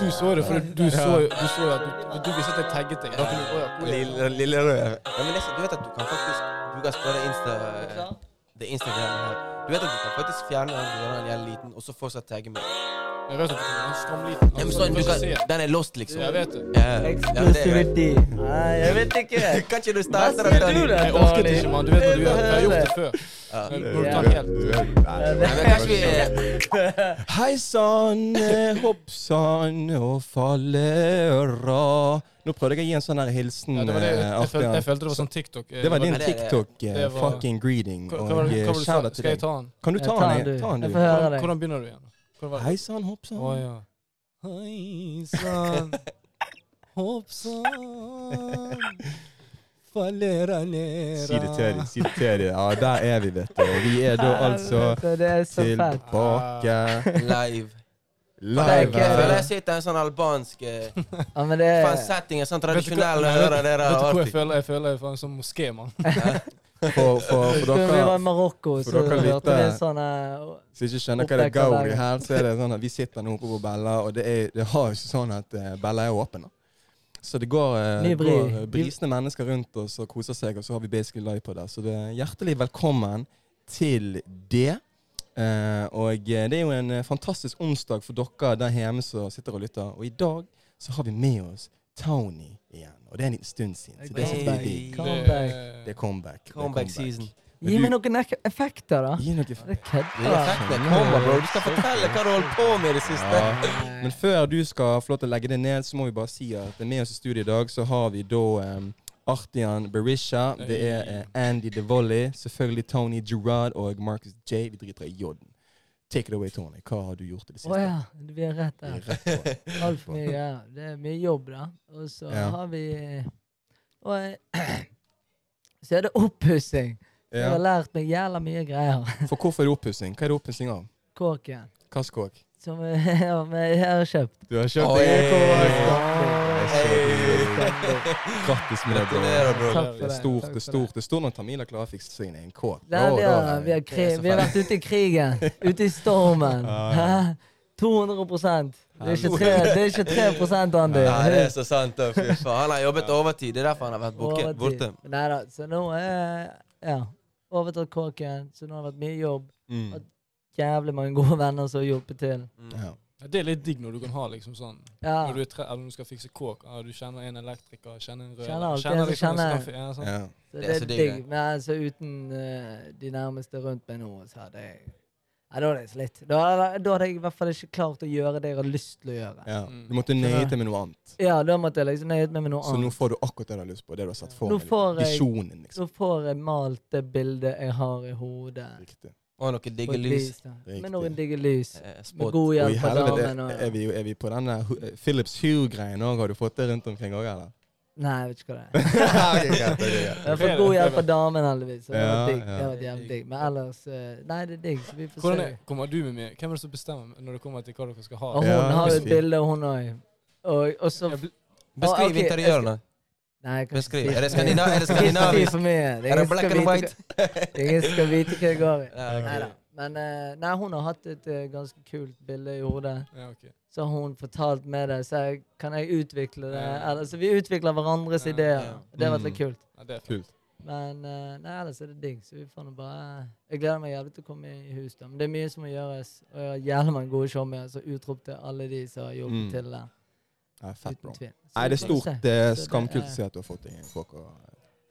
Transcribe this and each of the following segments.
du så det, for du så jo du så jo at du, du visste at jeg tagget deg. Da kunne du, «Å ja, hvor er Lille, lille rød. Ja, men jeg- du vet at du kan faktisk Du kan spørre Insta Det Instagram her. Du vet at du kan faktisk fjerne den når den er liten, og så fortsatt tagge meg. Jeg vet at du er en skamliten. Ja, men sånn, du kan kan, ikke se det. den er lost, liksom. Jeg vet det. Ja, ja, det er greit. Exclusivity. Nei, jeg vet ikke. Kan ikke du Hva starte den? sier du Daniel? da, Jeg orket Daniel? ikke, mann. Du vet hva du gjør. Jeg har gjort det før. Ja. Jeg Du burde er- ta den helt. du er- nei, Nei, men kanskje vi Hei sann, eh, hopp sann og fallera. Nå prøvde jeg å gi en sånn her hilsen. Ja, det var det. eh, Jeg, jeg, artig, følte, ja. jeg følte det var sånn TikTok. eh, Det var din det- det- det var- TikTok-fucking greeting. Hva, hva, var Og det- hva, eh, var det du sa? shout-out til Skal jeg deg. ta den? Kan du Ja, ta ta den? den, jeg? du. Ta den, Jeg du. får høre. Hvordan, deg. hvordan begynner du igjen? Hvordan var det? Hei sann, hopp sann. Å ja. Hei sann, hopp sann, fallera nera. Si det til dem. Si det til dem. Ja, der er vi, vet du. Og vi er da altså Helvete, Det er så fælt. Ah. tilbake Live. live Jeg føler her. jeg sitter i en sånn albansk eh, Ja, men det faen setting, en sånn Vet du hva- tradisjonell Nei, og hører vet- dere Vet du hvor jeg alltid. føler? Jeg føler jeg er fra en sånn moské, mann. For, for, for Skulle vi dere var i Marokko, for så dere hørte lytter- vi sånn eh, som ikke skjønner hva det Opplegg av går i dagen. her, så er det sånn at vi sitter nå oppe på Bella, og det, er, det har jo ikke sånn at eh, Bella er åpen. da. Så det går, eh, Mye bri. går eh, brisende mennesker rundt oss og koser seg, og så har vi basically live på det. Så det er hjertelig velkommen til det. Eh, og eh, det er jo en eh, fantastisk onsdag for dere der hjemme som sitter og lytter. Og i dag så har vi med oss Tony igjen. Og det er en liten stund siden. Så det synes jeg er digg. Come Det- back. Det er comeback. Det er Comeback season. Men Gi du- meg noen ek- effekter, da. Gi noe Det Det er kødder. fett, det kommer, bro. Du skal fortelle hva du holdt på med i det siste. Ja. Men før du skal få lov til å legge det ned, så må vi bare si at med oss i studio i dag så har vi da em, Artian Berisha, det er eh, Andy DeVolli, selvfølgelig Tony Gerard og Marcus J. Vi driter i J-en. Take it away, Tony. Hva har du gjort i det Å siste? ja, vi er rett der. Alt for mye greier. Det er mye jobb, da. Og så Ja. har vi Og eh, så er det oppussing. Jeg har Ja. lært meg jævla mye greier. For hvorfor er det oppussing? Hva er det oppussing av? Kåken. Hvilken kåk? Som jeg, som jeg har kjøpt. Du har Oi. Grattis med det, Gratulerer, bro. bro. Takk Det for er det. takk stort, det er for det. stort. Det er stort når Tamila klarer å fikse seg inn i en kåk. Nei, Å, vi, da har, er vi, har kri, jeg så vi har vært ute i krigen. Ute i stormen. Ja, Hæ? 200 Det er ikke 3, det er ikke 3 Andy. Nei, det er så sant. da, Fy faen. Han har jobbet overtid. Det er derfor han har vært borte. Overtid. borte. Neida, Så nå er ja, overtatt kåken. Så nå har det vært mye jobb. Mm. Jævlig mange gode venner som har hjulpet til. Mm. Ja. Det er litt digg når du kan ha liksom sånn Ja. Når du er tre, eller når du skal fikse kåk, ah, du kjenner en elektriker, kjenner en rød Kjenner alt, kjenner jeg liksom en kjenner- skaffe- ja, sånn. Ja. Så Det er det så er digg, digg. det. Men altså uten eh, de nærmeste rundt meg nå, så hadde jeg Nei, da hadde jeg slitt. Da hadde, da hadde jeg i hvert fall ikke klart å gjøre det jeg hadde lyst til å gjøre. Ja. Mm. Du måtte nøye deg med noe annet. Ja, da måtte jeg liksom nøye meg med noe Så nå annet. får du akkurat det du har lyst på. Det du har sett for Nå deg. får jeg- Visjonen, liksom. Så får jeg malt det bildet jeg har i hodet. Riktig. Og noe på digge et lys. vis, da. Riktig. Med noen digge lys. eh, Spot. Med god Og i hjelp av helvete, damen. er Og... vi, jo- er vi på denne hu- eh, Philips Hue-greien òg? Har du fått det rundt omkring òg, eller? Nei, jeg vet ikke hva det er. Ok, greit, ok, greit. Jeg har fått god hjelp av damen, heldigvis. Så det Ja, var digg. ja. Det var jævlig digg. Men ellers eh, Nei, det er digg, så vi får Hvordan se. er, kommer du med mye? Hvem er det som bestemmer når det kommer til hva dere skal ha? Og Ja, hun har jo fint. et bilde, hun òg. Og, og så Jeg bl- Ah, ok, Beskriv jeg skal- interiørene. Nei, jeg kan ikke Beskriv. si Er det for mye. skandina- er det Jeg kan ikke si skandinavisk? for mye. Er det black and white? Ingen skal vite hva jeg går i. Ja, ok. Neida. Men eh, nei, hun har hatt et eh, ganske kult bilde i hodet. Ja, ok. Så har hun fortalt med det, så jeg, kan jeg utvikle det. Ja. Eller, så vi utvikler hverandres Ja, ideer. ja. Det har vært litt Mm. kult. Ja, det er fint. Kult. Men eh, nei, ellers er det digg. Så vi får nå bare Jeg gleder meg jævlig til å komme i hus, da. Men det er mye som må gjøres. Og jeg har jævlig mange gode show med, så utrop til alle de som har jobbet Mm. til det. Nei, fett, bro. Uten tvil. Så Nei, vi det er får stort se. Så eh, det skamkult å er- se at du har fått det inn. Folk og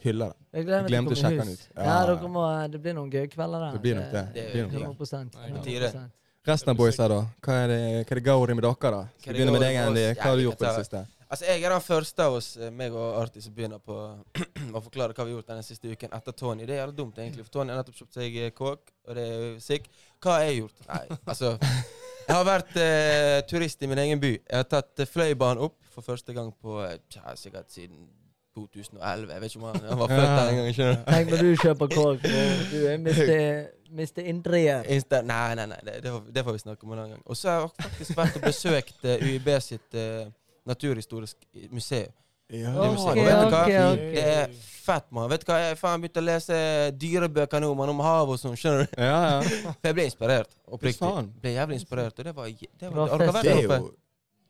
hyller det. Jeg gleder meg Glemte til å å sjekke komme i den hus. ut. Ja, Ja. dere må, eh, det blir noen gøye kvelder der. Det blir nok det. Det blir nok det. 100%. Nei, på tide. 100%. Resten av boysa, da? Hva er det, hva er det går i med dere, da? Skal det vi begynne med går i deg, med Andy. oss? Hva har du Ja, gjort på det jeg siste? Altså, jeg er den første av oss, eh, meg og Arti, som begynner på å forklare hva vi har gjort denne siste uken etter Tony. Det er jævlig dumt, egentlig, for Tony har nettopp kjøpt seg eh, kåk, og det er jo sick. Hva har jeg gjort? Nei, altså Jeg har vært eh, turist i min egen by. Jeg har tatt eh, Fløibanen opp for første gang på eh, tja, sikkert siden 2011. Jeg vet ikke om han, han var født der engang. skjønner du? Tenk når du kjøper kork, og du er Mr. Mr. Eh. Indrier. Insta nei, nei, nei, det, det, får, det får vi snakke om en annen gang. Og så har jeg faktisk vært og besøkt eh, UiB sitt eh, naturhistorisk museum. Ja, Det er musikk. Ok, Vet du hva? ok, ok. Det er fett, mann. Vet du hva, jeg faen begynte å lese dyrebøker nå, mann, om hav og sånn, skjønner du? ja. ja. For jeg ble inspirert, oppriktig. Faen. Ble jævlig inspirert, og det var, j- det Bra var Har dere fest. vært Det der er oppe? jo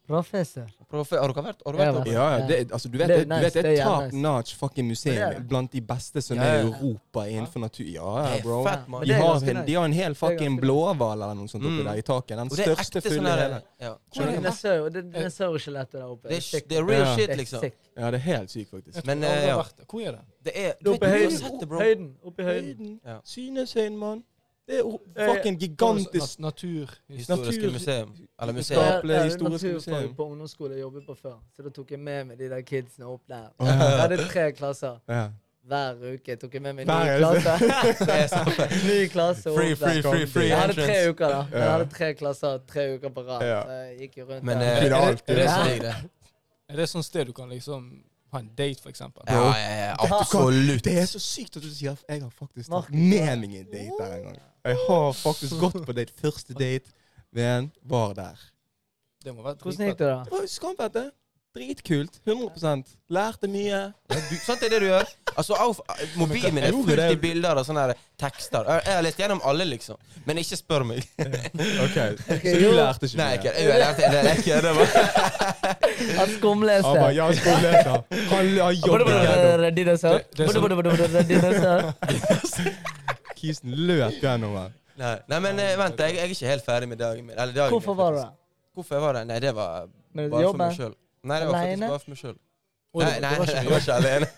Professor. Profe, har dere vært, har du vært Jeg oppe? Ja, ja, det, altså, du vet, Det er det, du nice, vet, det det er er top nice. notch fucking Det er museum. det. Blant de beste som Ja, ja. er i Europa innenfor natur. Ja, Det er bro. fett, mann. Men De det er har, ganske en, nice. de har en hel fucking ganske nice. blåhval eller noe sånt oppi Mm. der i taket. Den Og det er største ekte sånn fulle i her hele. ja. Det Skjønner er du? dinosaur- det er dinosaurskjeletter der oppe. det, er, sick. det er real Ja. shit, Det er liksom. sick. Ja, det er helt sykt, faktisk. Men Aldri eh, ja, vært der. Hvor er det? det er Det er du oppe vet, i du har høyden. sett det, bro. Høyden. Oppe i høyden. Høyden. Ja. Syneshøyden, mann. Det er jo Eh, fucking Nas- gigantisk Natur. Historiske Natur- museum. Eller Det museum. Skap- er- det er historiske naturfag museum. på ungdomsskole jeg jobbet på før, så da tok jeg med meg de der kidsene opp der. Åh. Jeg hadde tre klasser ja. hver uke. tok jeg med meg Hver ny eneste. klasse. Det er sant. Ny klasse opp Free, free, der. free, free Jeg hadde tre entrance. uker da. Jeg Ja. hadde tre klasser tre uker på rad. Ja. Så jeg gikk jo rundt Men der. eh, Det er er, alt, det, er det det er så alt. digg, det? Er det sånn sted du kan liksom ha en date, for eksempel? Ja, ja, ja, Du kan- absolutt. Det er så sykt at du sier at jeg har faktisk tatt Markus. med meg en date der en gang. Jeg har faktisk gått på date. Første date men var der. Det må være Hvordan gikk det, da? Oi, Skamfette. Dritkult. 100 Lærte mye. Du, sant det er det du gjør? Altså, av, Mobilen min Jeg er gjorde fullt det. i bilder og sånne her tekster. Jeg, jeg har lest gjennom alle, liksom. Men ikke spør meg. Ok, Så jo. du lærte ikke Nei, jeg mye? kødder. Jeg lærte- jeg- jeg kødder bare. Han skumleste. Han bare, ja, skolelærer. Han har jobbet. Dinosaur. Det- det er sånn- Dinosaur. Kisen løp gjennomover. Nei, Nei, men eh, vent, jeg, jeg er ikke helt ferdig med dagen min. Eller dagen Hvorfor min, var du faktisk. der? Hvorfor jeg var det? Nei, det var Med bare for meg jobben? sjøl. Nei, det var faktisk Alene? bare for meg sjøl. Oi, Nei, det nei, var ikke nei, jeg var ikke alene.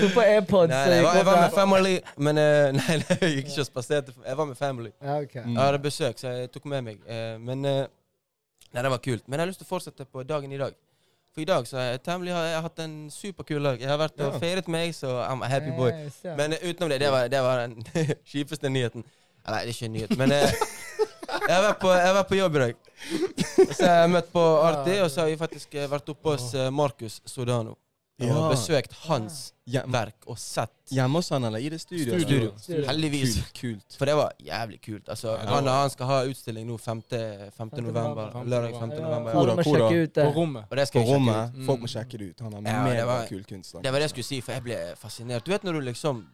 Du på AirPods? Nei, så nei, jeg, gikk var, jeg var opp med der. family, men eh, nei, nei, jeg gikk ikke og spaserte. Jeg var med family. Ja, ok. Mm. Jeg hadde besøk, så jeg tok med meg. eh, Men eh, Nei, det var kult. Men jeg har lyst til å fortsette på dagen i dag. For i dag så har jeg temmelig har jeg hatt en superkul dag. Jeg har vært og Ja. feiret meg, så I'm a happy boy. Nice, ja. Men eh, utenom det, det var, det var den kjipeste nyheten. Eh, Nei, det er ikke en nyhet, men eh, jeg, har vært på, jeg har vært på jobb i dag. Så jeg har møtt på Arti, og så har vi faktisk eh, vært oppe hos eh, Markus Sodano. Og Ja. besøkt hans Hjem- verk og sett. Hjemme hos han, eller i det studio? Studio. Studio. Heldigvis. Kult. kult. For det var jævlig kult. Altså, Ja. han, han skal ha utstilling nå 5. 5. november. november. Lørdag 5. femte Ja, november. Hvor Alle da, må hvor da? sjekke ut det. På rommet. Og det På skal jeg sjekke rommet. Mm. Folk må sjekke det ut. Han har Ja, det mega var- kul kunst. da. ut. Det var det jeg skulle si, for jeg ble fascinert. Du vet når du liksom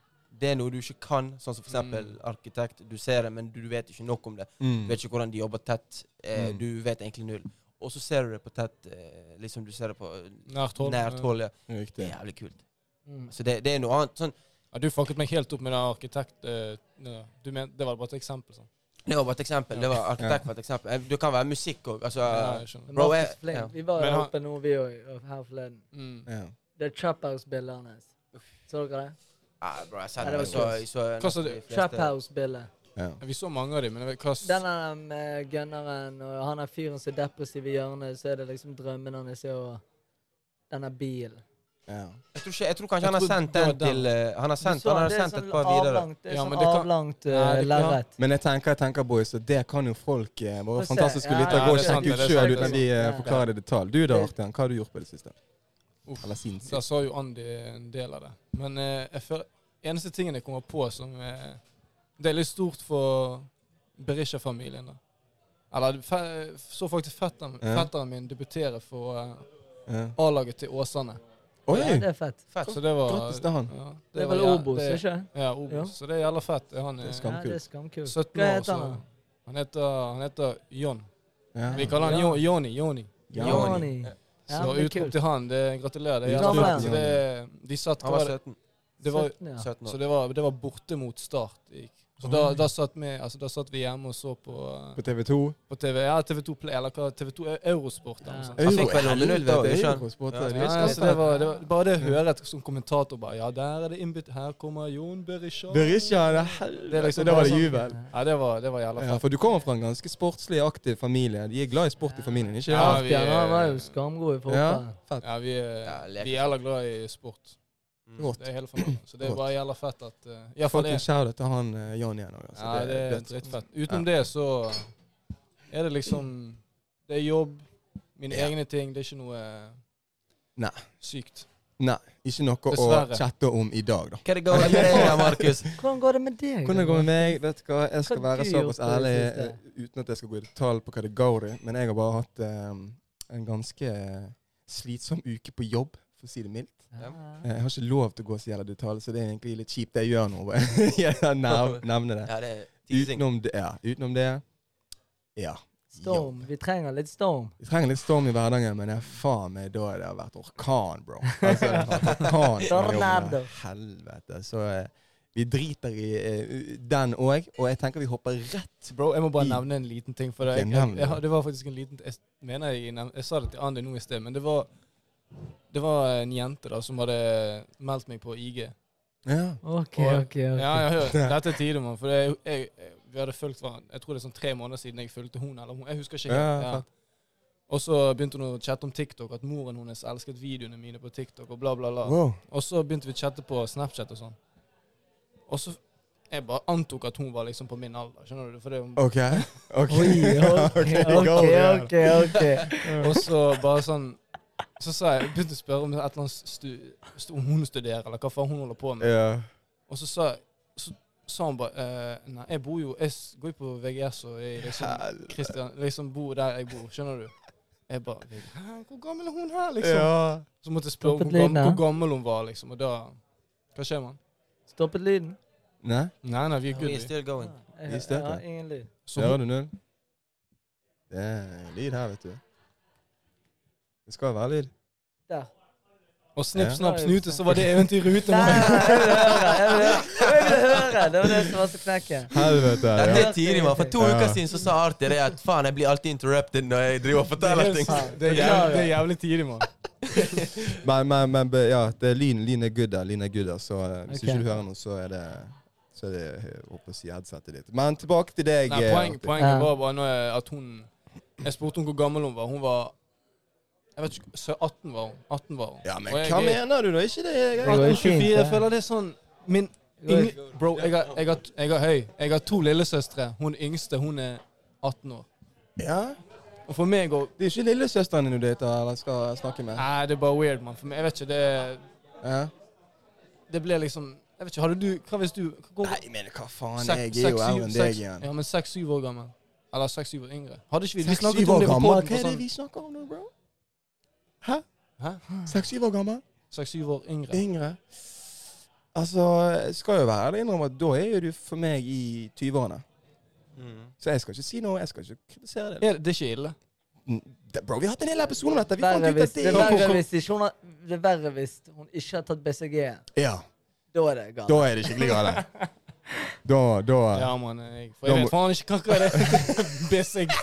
Det er noe du ikke kan, sånn som for Mm. eksempel arkitekt. Du ser det, men du vet ikke nok om det. Du Mm. vet ikke hvordan de jobber tett. Eh, Mm. Du vet egentlig null. Og så ser du det på tett eh, Liksom du ser det på eh, Nært hold. nært hold. Ja. Det Riktig. er jævlig kult. Mm. Så det, det er noe annet. Sånn, Ja, du fucket meg helt opp med den arkitekt... eh, ja, du men, det var bare et eksempel. sånn. det var bare et eksempel. Det var arkitekt for et eksempel. Eh, Det kan være musikk òg. Altså, Ja, jeg skjønner. Men Bro, Markus jeg- Flink, ja. Vi var Men jo han- oppe nå, vi òg, her forleden. Mm. Ja. Det er Trap House-bildet hans. Så dere det? ah, bro, jeg Ja, sender det var meg så, kult. så Hva sa du? de fleste- Trap House-bildet. Ja. Vi så mange av dem, men jeg vet hva s- Den er med gunneren, og han er fyren som er depressiv i hjørnet, så er det liksom drømmen hans er å Denne bilen. Ja. Jeg tror, ikke, jeg tror kanskje Jeg han har tror sendt det var den til eh, Han har Du sendt, så han har det er sendt sånn et par videre. avlangt- Det er Ja, men sånn det kan- avlangt Nei, det eh, kan- lerret. Men jeg tenker, jeg tenker boys, at det kan jo folk eh, Få Våre se. fantastiske Ja, lyttere ja, gå og det er sant, sjekke det ut er sjøl sant, uten at det vi er eh, sant. forklarer det i detalj. Du da, Artian, hva har du gjort på det siste? Uff. Eller siden sist? Der sa jo Andy en del av det. Men eh, jeg føler, eneste tingen jeg kommer på som eh, Det er litt stort for Berisha-familien. da. Eller fe, så faktisk fetteren, Ja. fetteren min debutere for eh, Ja. A-laget til Åsane. Oi! Ja, det er fett. Så det var Grattis til han. Ja, Det er var vel jæ- Obos, det- ikke sant? Ja, Obos. Ja. Så det er jævla fett. Han Det er er Ja, Skamkult. det er skamkult. 17 Hva år, heter så han? han heter, han heter Jon. Ja. Vi kaller han Ja. Jo- Joni. Joni. Ja. Joni. Ja, Så det er utrop kult. til han. Det, gratulerer. Det er Gratulerer. jævla fett. Så det, de satt Han var 17, det var, 17, ja. 17 Så år. det var, det var borte mot start. det gikk. Så da, da, satt vi, altså, da satt vi hjemme og så på, eh, På TV 2. på TV, ja, TV2 Play, eller hva, TV2 Eu- Eurosport. Eller noe Ja. sånt. Han fikk vel noen minutter, vet du, ikke sant? Ja, Ja, ja, skal vi liksom. så det var, det var, bare det å høre et sånn kommentator bare Ja, der er det innbytt. Her kommer Jon Berisha. Berisha, det er Det er helvete! liksom Da bare var det sånn- jubel. Ja, det var, det var jævla Ja, fett. for du kommer fra en ganske sportslig aktiv familie. De er glad i sport i familien, ikke Ja, sant? vi- Artian han var jo skamgod i fotball. Fett. Ja, vi, er- Ja, lek. vi er jævla glad i sport. Mm. Det er hele familien. Så det er Godt. bare jævla fett at eh, i hvert fall Fucking det. shout til han eh, Jan igjen. også, altså. Ja, det er dødt. drittfett. Utenom det så er det liksom Det er jobb, mine Ja. egne ting. Det er ikke noe Nei. sykt. Ikke noe Dessverre. å chatte om i dag, da. Hva er det going med deg, Markus? Hvordan går det med deg? Hvordan det går det med meg? Vet du hva, Jeg Hva skal har være du såpass gjort på det ærlig siste? eh, uten at jeg skal gå i detalj på hva det går i, men jeg har bare hatt eh, en ganske slitsom uke på jobb, for å si det mildt. Eh, Jeg har ikke lov til å gå så jævla detalj, så det er egentlig litt kjipt det jeg gjør nå. bare. Jeg nev- nevner det. Ja, det er teasing. Utenom det, ja, utenom det ja. Storm. Vi trenger litt storm. Vi trenger litt storm i hverdagen, men det er faen meg da det har vært orkan, bro. Altså, det har vært orkan på den jobben Tornado. der. Helvete. Så eh, vi driter i eh, den òg, og jeg tenker vi hopper rett Bro, jeg må bare I- nevne en liten ting. For det, Ok, jeg, nevn jeg, det. jeg, har- det var faktisk en liten Jeg mener jeg, nev- jeg sa det til Andi nå i sted, men det var det var en jente da som hadde meldt meg på IG. Ja. OK, Og- OK. ok. Ja, jeg hører. Dette er Tidemann. For jeg, jeg, jeg, vi hadde fulgt hverandre Jeg tror det er sånn tre måneder siden jeg fulgte hun eller hun. Jeg husker ikke. Ja, helt. Ja. fett. Og så begynte hun å chatte om TikTok, at moren hennes elsket videoene mine på TikTok. og bla bla bla. Wow. Og så begynte vi å chatte på Snapchat og sånn. Og så Jeg bare antok at hun var liksom på min alder. skjønner du? For det, OK. OK. Oi, OK, OK, go, ja. OK. ok. Og så bare sånn Så sa jeg, begynte å spørre om et eller annet stu, stu, om hun studerer, eller hva faen hun holder på med. Ja. Og så sa, så sa hun bare eh, Nei, jeg bor jo Jeg s- går jo på VGS og jeg liksom, Helvete. Christian, liksom bor der jeg bor. Skjønner du? Jeg bare Hæ, Hvor gammel er hun her, liksom? Ja. Så måtte jeg spørre Stoppet hvor, gam, lyden, ja. hvor gammel hun var, liksom. Og da Hva skjer, mann? Stoppet lyden? Nei? Nei, nei, vi er We good. are vi. still going. Jeg, Vi jeg, støter. har ingen lyd. Så Hører hun, du null? Det er lyd her, vet du. Det skal være lyd. Der. og Ja. snipp, snapp, snute, så var det eventyr i rute. Nei, mann. nei, jeg vil høre! Jeg vil, jeg vil høre. Det var det som var så knekken. Helvete. Ja, Ja. det er tidlig, man. For to Ja. uker siden så sa Arti det at faen, jeg blir alltid interrupted når jeg driver og Det er, forteller ting. det er, jævlig, det er jævlig tidlig, mann. Men, men, men be- ja, det er lyn, lyn er good der. Lyn er good der, så eh, Ok. hvis ikke du hører noe, så er det så er det jeg håper å si headsetet ditt. Men tilbake til deg. Nei, eh, poeng, Arti. poenget Ja. var bare når jeg, at hun Jeg spurte hun hvor gammel hun var. Hun var Jeg vet ikke, sø- 18 var hun. 18 var hun. Ja, men Og jeg hva er- mener du da? Ikke det? eh, Jeg, Det går jo 18, 24, fint, jeg det. føler det er sånn min yng, Bro, jeg har, jeg, har, jeg har høy. Jeg har to lillesøstre. Hun yngste, hun er 18 år. ja. Og for meg å Det er ikke lillesøsteren din du dater eller skal snakke med? Nei, det er bare weird, mann. For meg, jeg vet ikke, det Ja. Det ble liksom Jeg vet ikke, hadde du Hva hvis du hvor- Nei, men hva faen? seks- Jeg er seks, jo syv- eldre enn seks- deg igjen. Ja, men seks-syv år gammel. Eller seks-syv år yngre. Hadde ikke vi Vi snakket Seks-syv om år det på gammel? podden Hva og er det sånn. vi snakker om nå, bro? Hæ? Hæ? Seks-syv år gammel? Seks-syv år yngre. Yngre? Altså, jeg skal jo være ærlig innrømme at da er jo du for meg i 20-årene. Mm. Så jeg skal ikke si noe. Jeg skal ikke kritisere det. Er det, det er ikke ille. Mm, det- Bro, vi har hatt en hel episode om dette. Vi fant Verre ut hvis, at det det er verre er hvis, ikke hun, har, det er verre hvis hun ikke har tatt BCG. Ja, Da er det galt. da er det skikkelig galt. Da, da Ja, mann. Jeg, for Da jeg må- vet faen ikke hva- hva er det BCG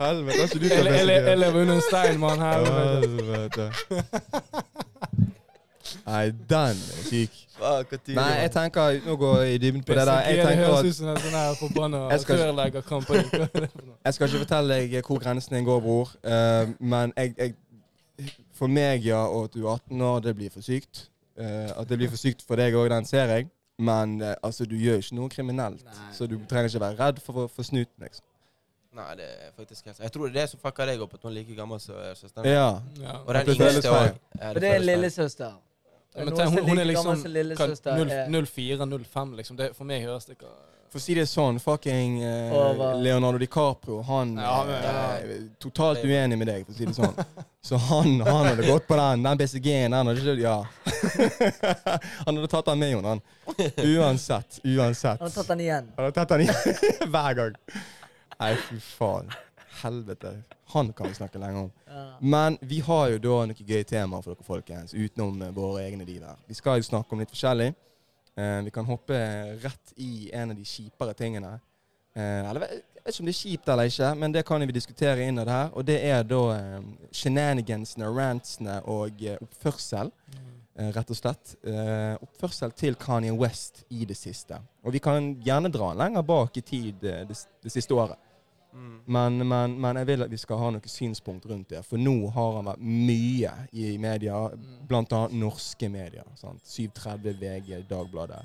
Helvete, altså, du tar Jeg le- jeg le- jeg BCG. lever under en stein, mann. Helvete. Helvete. Nei, den er syk. Fuck, hvor tidlig, Nei, jeg tenker Nå går jeg i dybden på det der. BCG, Jeg det tenker høres at ut som en sånn her forbanna Jeg skal ikke- rørleggerkampanje. Hva er det for noe? Jeg skal ikke fortelle deg hvor grensen din går, bror. Eh, men jeg, jeg For meg, ja, og at du er 18 år, det blir for sykt. Eh, at det blir for sykt for deg òg, den ser jeg. Men eh, altså, du gjør ikke noe kriminelt, Nei. så du trenger ikke være redd for, for, for snuten. liksom. Nei, det er faktisk helt Jeg tror det er det som fucker deg opp, at hun er like gammel som eh, søsteren. Ja. Ja. Og den Det føles yngste feil. òg. For det er lillesøster. Ja, men Noen tenk, som hun, hun er like gammel liksom som hva, lillesøster er- 0- 04-05, liksom. Det, for meg høres det ikke For å si det sånn, fucking eh, Over. Leonardo DiCaprio, han Ja, men- eh, er totalt uenig med deg, for å si det sånn. Så han, han hadde gått på den, den BCG-en, den hadde ikke Ja. han hadde tatt den med, Jon, han. Uansett. Uansett. Han har tatt den igjen. Han har tatt den i hver gang. Nei, fy faen. Helvete. Han kan vi snakke lenge om. Ja. Men vi har jo da noen gøye temaer for dere, folkens, utenom eh, våre egne liv her. Vi skal jo snakke om litt forskjellig. Eh, vi kan hoppe rett i en av de kjipere tingene. Eh, eller jeg vet ikke om det er kjipt eller ikke, men det kan vi diskutere innad her. Og det er da eh, shenanigansene, rantsene og eh, oppførsel. Eh, rett og slett. Eh, oppførsel til Kanye West i det siste. Og vi kan gjerne dra den lenger bak i tid eh, det, s- det siste året. Mm. Men, men, men jeg vil at vi skal ha noen synspunkt rundt det. For nå har han vært mye i media, blant annet norske medier. Sant? 730 VG, Dagbladet.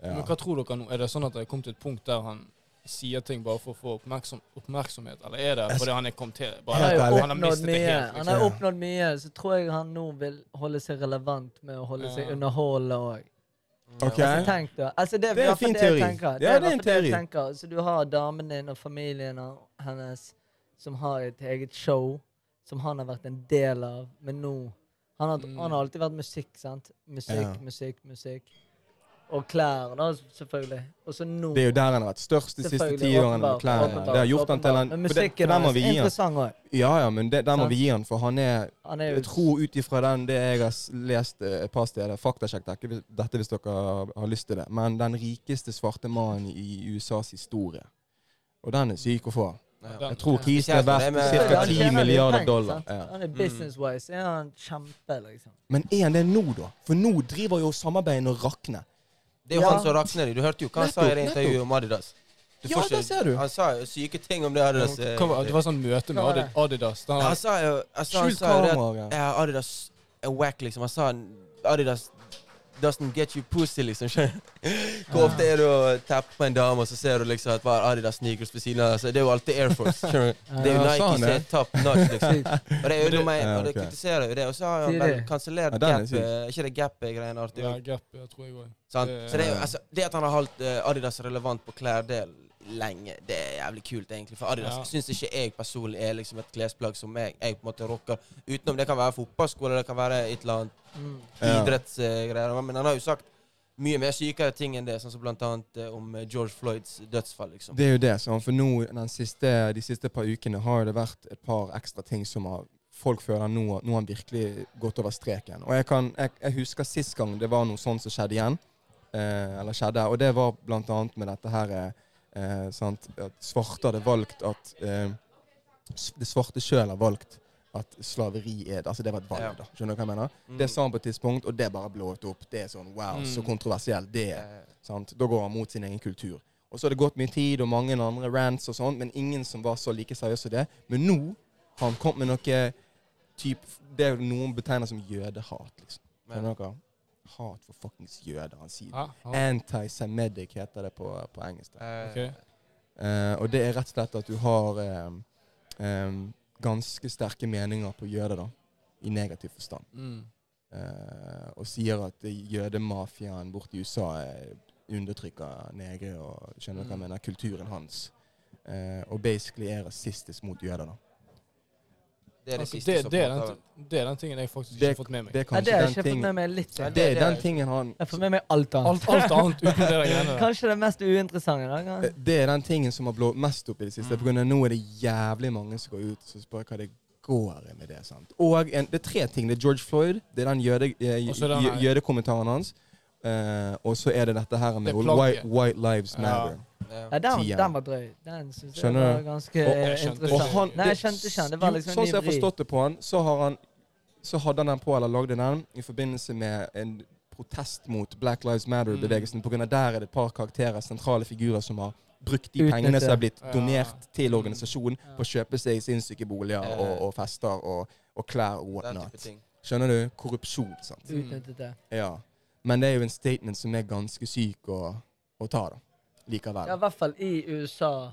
Ja. Men hva tror dere nå? Er det sånn at det er kommet til et punkt der han sier ting bare for å få oppmerksom, oppmerksomhet, eller er det fordi han er kommet til Han bare, Helt har jo ærlig. Han har oppnådd mistet det mye. helt, Han liksom? har Ja. oppnådd mye, så tror jeg han nå vil holde seg relevant med å holde seg Ja. underholdende òg. Ok. Altså, tenk da. Altså, det, Det er en i hvert fall fin det jeg teori. tenker. Ja, i det er en hvert fall jeg teori. tenker. Så du har damen din og familien og hennes som har et eget show som han har vært en del av, men nå Han har, Mm. han har alltid vært musikk, sant? Musikk, Ja. musikk, musikk. Og klær, da, selvfølgelig. Og så nå. Det er jo der han har vært størst de siste selvfølgelig, ti årene. med åpenbart, klærne. åpenbart, Det har gjort han til åpenbart. en Men for det- for musikken den må hans vi er gi han. interessant òg. Ja, ja, men det, den må Sant? vi gi han, for han er Han er jo Jeg tror ut ifra den det jeg har s- lest eh, et par steder Faktasjekk det er ikke dette hvis dere har lyst til det. Men den rikeste svarte mannen i USAs historie. Og den er syk å få. Jeg tror Ja. Kisen er verdt Ja, ca. han 10 tjener mye milliarder penger, dollar. sant? Ja. Mm. Han er business-wise. Er han kjempe, liksom. Men er han det nå, da? For nå driver jo samarbeidene og rakner. Det er jo Ja. han som rakner det. Du hørte jo hva han sa i det Nettopp, intervjuet om Adidas. Du Ja, får ikke- der ser du. Han sa jo syke ting om det Adidas. eh, Hva var- Det var sånn møte med Hva var Adi- det? Adidas. Da Ja, han- Han sa jo han sa- han Skjult sa jo det at kamera. ja. ja, Adidas er wack, liksom. Han sa Adidas doesn't get you pussy, liksom. skjønner du? Hvor ofte er det å tappe på en dame, og så ser du liksom at bare Adidas sneakers ved siden av deg? så Det er jo alltid Air Force. skjønner du? Det er jo Ja, Nike sa han som det? er top notch, liksom. Og det er jo Men det- nummer én, Ja, og det ok. kritiserer jo det. Og så har han Sier vel det. kansellert Ja, den er gap, syk. eh, ikke det gap-greiene artig Ja, òg. Gap, jeg tror jeg òg. Så det- det, er jo, altså, det at han har holdt eh, Adidas relevant på klærdel lenge, det er jævlig kult, egentlig. For Adidas Ja. syns ikke jeg personlig er liksom et klesplagg som jeg, jeg på en måte rocker. Utenom det kan være fotballskole, det kan være et eller annet Mm. Ja. idrettsgreier. Men han har jo sagt mye mer sykere ting enn det, sånn som blant annet eh, om eh, George Floyds dødsfall, liksom. Det er jo det. sånn, For nå, den siste, de siste par ukene har jo det vært et par ekstra ting som har folk føler nå nå har han virkelig gått over streken. Og jeg, kan, jeg, jeg husker sist gang det var noe sånt som skjedde igjen. Eh, eller skjedde. Og det var blant annet med dette her eh, eh, sant, At svarte hadde valgt at eh, s- Det svarte sjøl har valgt at slaveri er det. Altså det var et valg, Ja. da. Skjønner du hva jeg mener? Mm. Det sa han på et tidspunkt, og det bare blået opp. Det er sånn wow, så Mm. kontroversielt det er. Eh, Sant? Da går han mot sin egen kultur. Og så har det gått mye tid og mange andre rants og sånn, men ingen som var så like seriøs som det. Men nå har han kommet med noe typ, det noen betegner som jødehat. liksom. men- Skjønner dere? Hat for fuckings jøder. Han sier Ja, ja. Anti-Semitic heter det på, på engelsk. da. eh, Ok. Eh, og det er rett og slett at du har eh, eh, ganske sterke meninger på jøder, da. I negativ forstand. Mm. Eh, og sier at jødemafiaen borte i USA eh, undertrykker negre og skjønner Mm. hva jeg mener, kulturen hans. Eh, og basically er rasistisk mot jøder. da. Det er det Altså, siste det, som det, er på den, en måte har- ti- det er den tingen jeg faktisk ikke Det- har fått med meg. Det er Nei, det kanskje har jeg den ikke fått med tingen, meg litt. Nei, Jeg det det er er- den tingen han Jeg får med meg alt annet. Alt, alt annet utenom det der greiene der. Kanskje det mest uinteressante. Da. eh, det er den tingen som har blåst mest opp i det siste. Mm. På grunn av nå er det jævlig mange som går ut og spør hva det går i med det. sant? Og en, Det er tre ting. Det er George Floyd, det er den jøde, eh, Og så er det jø- han- jødekommentaren hans, eh, og så er det dette her med Det er white, plagget. white Lives Ja. Matter. Ja. Ja, den, Tieren. den var drøy. Den synes jeg Skjønner du? var ganske Og- Jeg skjønte interessant. ikke. Og han- Nei, jeg skjønte ikke den. Det var liksom jo, Sånn som jeg en har vri. forstått det på han, så har han så hadde han den på, eller lagde den, i forbindelse med en protest mot Black Lives Mm. Matter-bevegelsen. På grunn av der er det et par karakterer, sentrale figurer, som har brukt de Utnytte. pengene som er blitt Ja. donert til Mm. organisasjonen, Ja. på å kjøpe seg sinnssyke boliger Ja. og, og fester og, og klær og Den type whatnot. ting. Skjønner du? Korrupsjon, sant. Mm. Utnyttet det. Ja. Men det er jo en statement som er ganske syk å, å ta, da. Likevel. Ja, i hvert fall i USA.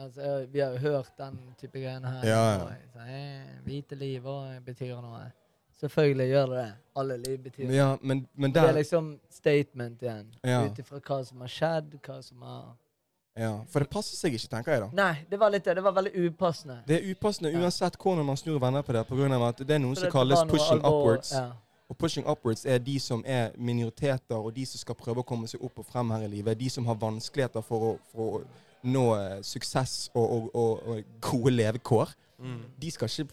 Altså, jeg- vi har jo hørt den type greiene her. Ja, ja. Og jeg sa, eh, Hvite liv også betyr noe. Selvfølgelig gjør det det. Alle liv betyr noe. Ja, men, men Det er der liksom statement igjen. Ja. Ut ifra hva som har skjedd, hva som har liksom- ja. For det passer seg ikke, tenker jeg, da. Nei, det var litt det. Det var veldig upassende. Det er upassende Ja. uansett hvordan man snur og vender på det, pga. at det er For noe som dette kalles var noe pushing alvor- upwards. Ja. Og pushing upwards er de som er minoriteter, og de som skal prøve å komme seg opp og frem her i livet. De som har vanskeligheter for å, for å nå eh, suksess og, og, og, og gode levekår. Mm. De skal ikke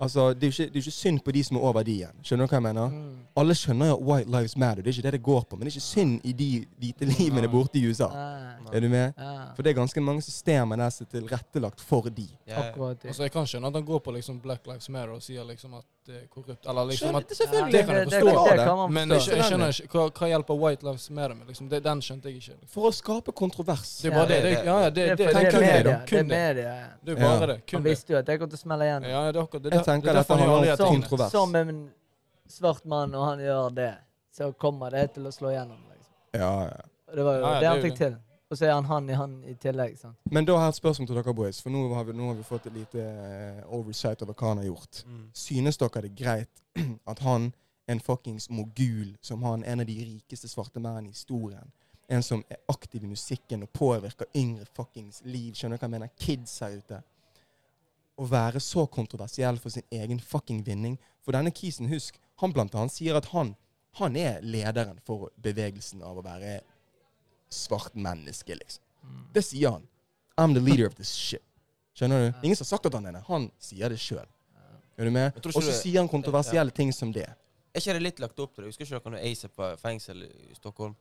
Altså, det er jo ikke, det er jo ikke synd på de som er over de igjen. Skjønner du hva jeg mener? Mm. Alle skjønner jo at White Lives Matter, det er ikke det det går på. Men det er ikke synd i de hvite livene borte i USA. Nei. Er du med? Ja. For det er ganske mange systemer der som er tilrettelagt for de. Ja, ja. Akkurat det. Altså, jeg kan skjønne at han går på liksom Black Lives Matter og sier liksom at det er korrupt. Eller liksom at Selvfølgelig. det kan jeg forstå. Det, det kan man Men forstå. ikke, jeg skjønner ikke hva, hva hjelper White Lives Matter med? Liksom, det, den skjønte jeg ikke. Liksom. For å skape kontrovers. Det er bare Ja, det. det- det, ja, ja, det, Det er det, fordi det, tenk det er kun Kun media. Det er det, da. det. media. ja. Det er bare Ja. det. Han Kun det. visste jo at jeg kom til å smelle igjen. Ja, det er akkurat det. det er Jeg tenker derfor dette han handler gjør alle om de tingene. kontrovers. Som en svart mann, og han gjør det, så kommer det til å slå igjennom. Liksom. Ja, ja. Og det var jo Ja, ja, det det han er jo fikk til. Og så er han han i han i tillegg. Sant? Men da har jeg et spørsmål til dere boys, for nå har vi, nå har vi fått et lite eh, oversight over hva han har gjort. Mm. Synes dere det er greit at han, en fuckings mogul, som han en av de rikeste svarte mennene i historien, en som er aktiv i musikken og påvirker yngre fuckings liv, skjønner dere hva jeg mener, kids her ute, å være så kontroversiell for sin egen fucking vinning? For denne kisen, husk, han blant annet sier at han, han er lederen for bevegelsen av å være svart menneske, liksom. Mm. Det sier han. I'm the leader of this shit. Skjønner du? Ja. Ingen som har sagt at han er det. Han sier det sjøl. Er du med? Jeg tror Og ikke så du- sier han kontroversielle ting som det. Er ikke det litt lagt opp til det? Husker ikke dere når Asap var i fengsel i Stockholm?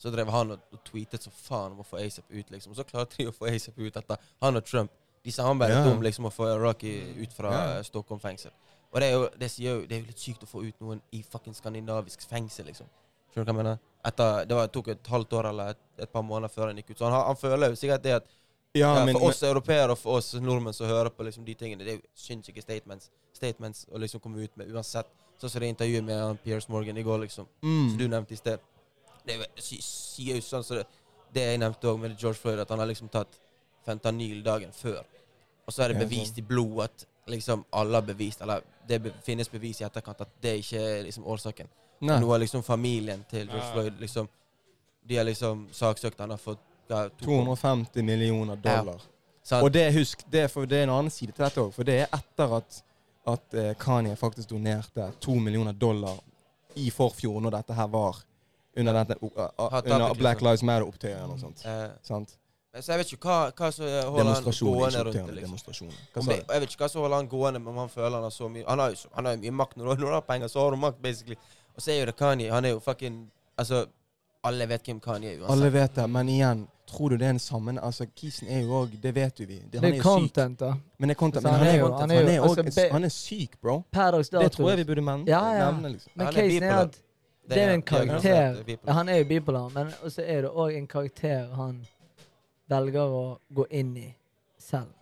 Så drev han og, og tweetet så faen om å få Asap ut, liksom. Og så klarte de å få Asap ut etter han og Trump. De samarbeidet Ja. om liksom å få Rocky ut fra Ja. eh, Stockholm fengsel. Og det er, jo, det, sier jo, det er jo litt sykt å få ut noen i fucking skandinavisk fengsel, liksom. Skjønner du hva jeg mener? Etter, det var, tok et halvt år eller et, et par måneder før han gikk ut. Så han, har- han føler jo sikkert det at Ja, ja, men, for oss europeere og for oss nordmenn som hører på liksom de tingene, det er jo sinnssyke statements, statements å liksom komme ut med uansett. Sånn som det intervjuet med han Piers Morgan i går, liksom, mm. som du nevnte i sted. Det er jo sy- sier jo sånn som det, det jeg nevnte òg med George Floyd, at han har liksom tatt fentanyl dagen før. Og så er det Ja, sånn. bevist i blodet at liksom alle har bevist, eller det be, finnes bevis i etterkant at det ikke er liksom årsaken. Nei. Nå har liksom familien til George Ja. Floyd liksom De har liksom saksøkt han har fått ja, to- 250 millioner dollar. Sant? Og det, husk, det er, for, det er en annen side til dette òg. For det er etter at, at eh, Kanye faktisk donerte to millioner dollar i forfjor, når dette her var under, dette, uh, uh, Hot under topic, Black liksom. Lives Matter-opptøyene eller noe sånt. Eh, Sant? Så jeg vet ikke hva, hva som holder han Demonstrasjoner, gående ikke rundt det. opptøyene. liksom. Demonstrasjoner. Hva Om sa det, du? og jeg vet ikke hva som holder han gående, men om han føler han har så mye Han har jo, så, han har jo mye makt. Når du, når du har penger, så har du makt, basically. Og så er jo det Kanye. Han er jo fucking Altså, alle vet hvem Kanye er, uansett. Alle vet det, men igjen, tror du det er en sammen... Altså, Kisen er jo òg Det vet jo vi. Det, Det han er er jo syk. content, da. Men det er content. Så Men han er jo han er jo- også- altså, be- han er syk, bro. Per dags Det dato. tror jeg vi burde men- Ja, ja. nevne, liksom. Men Han er casen er bipolar. at det er jo en karakter. uansett, det er ja, Han er jo bipolar, men også er det òg en karakter han velger å gå inn i selv.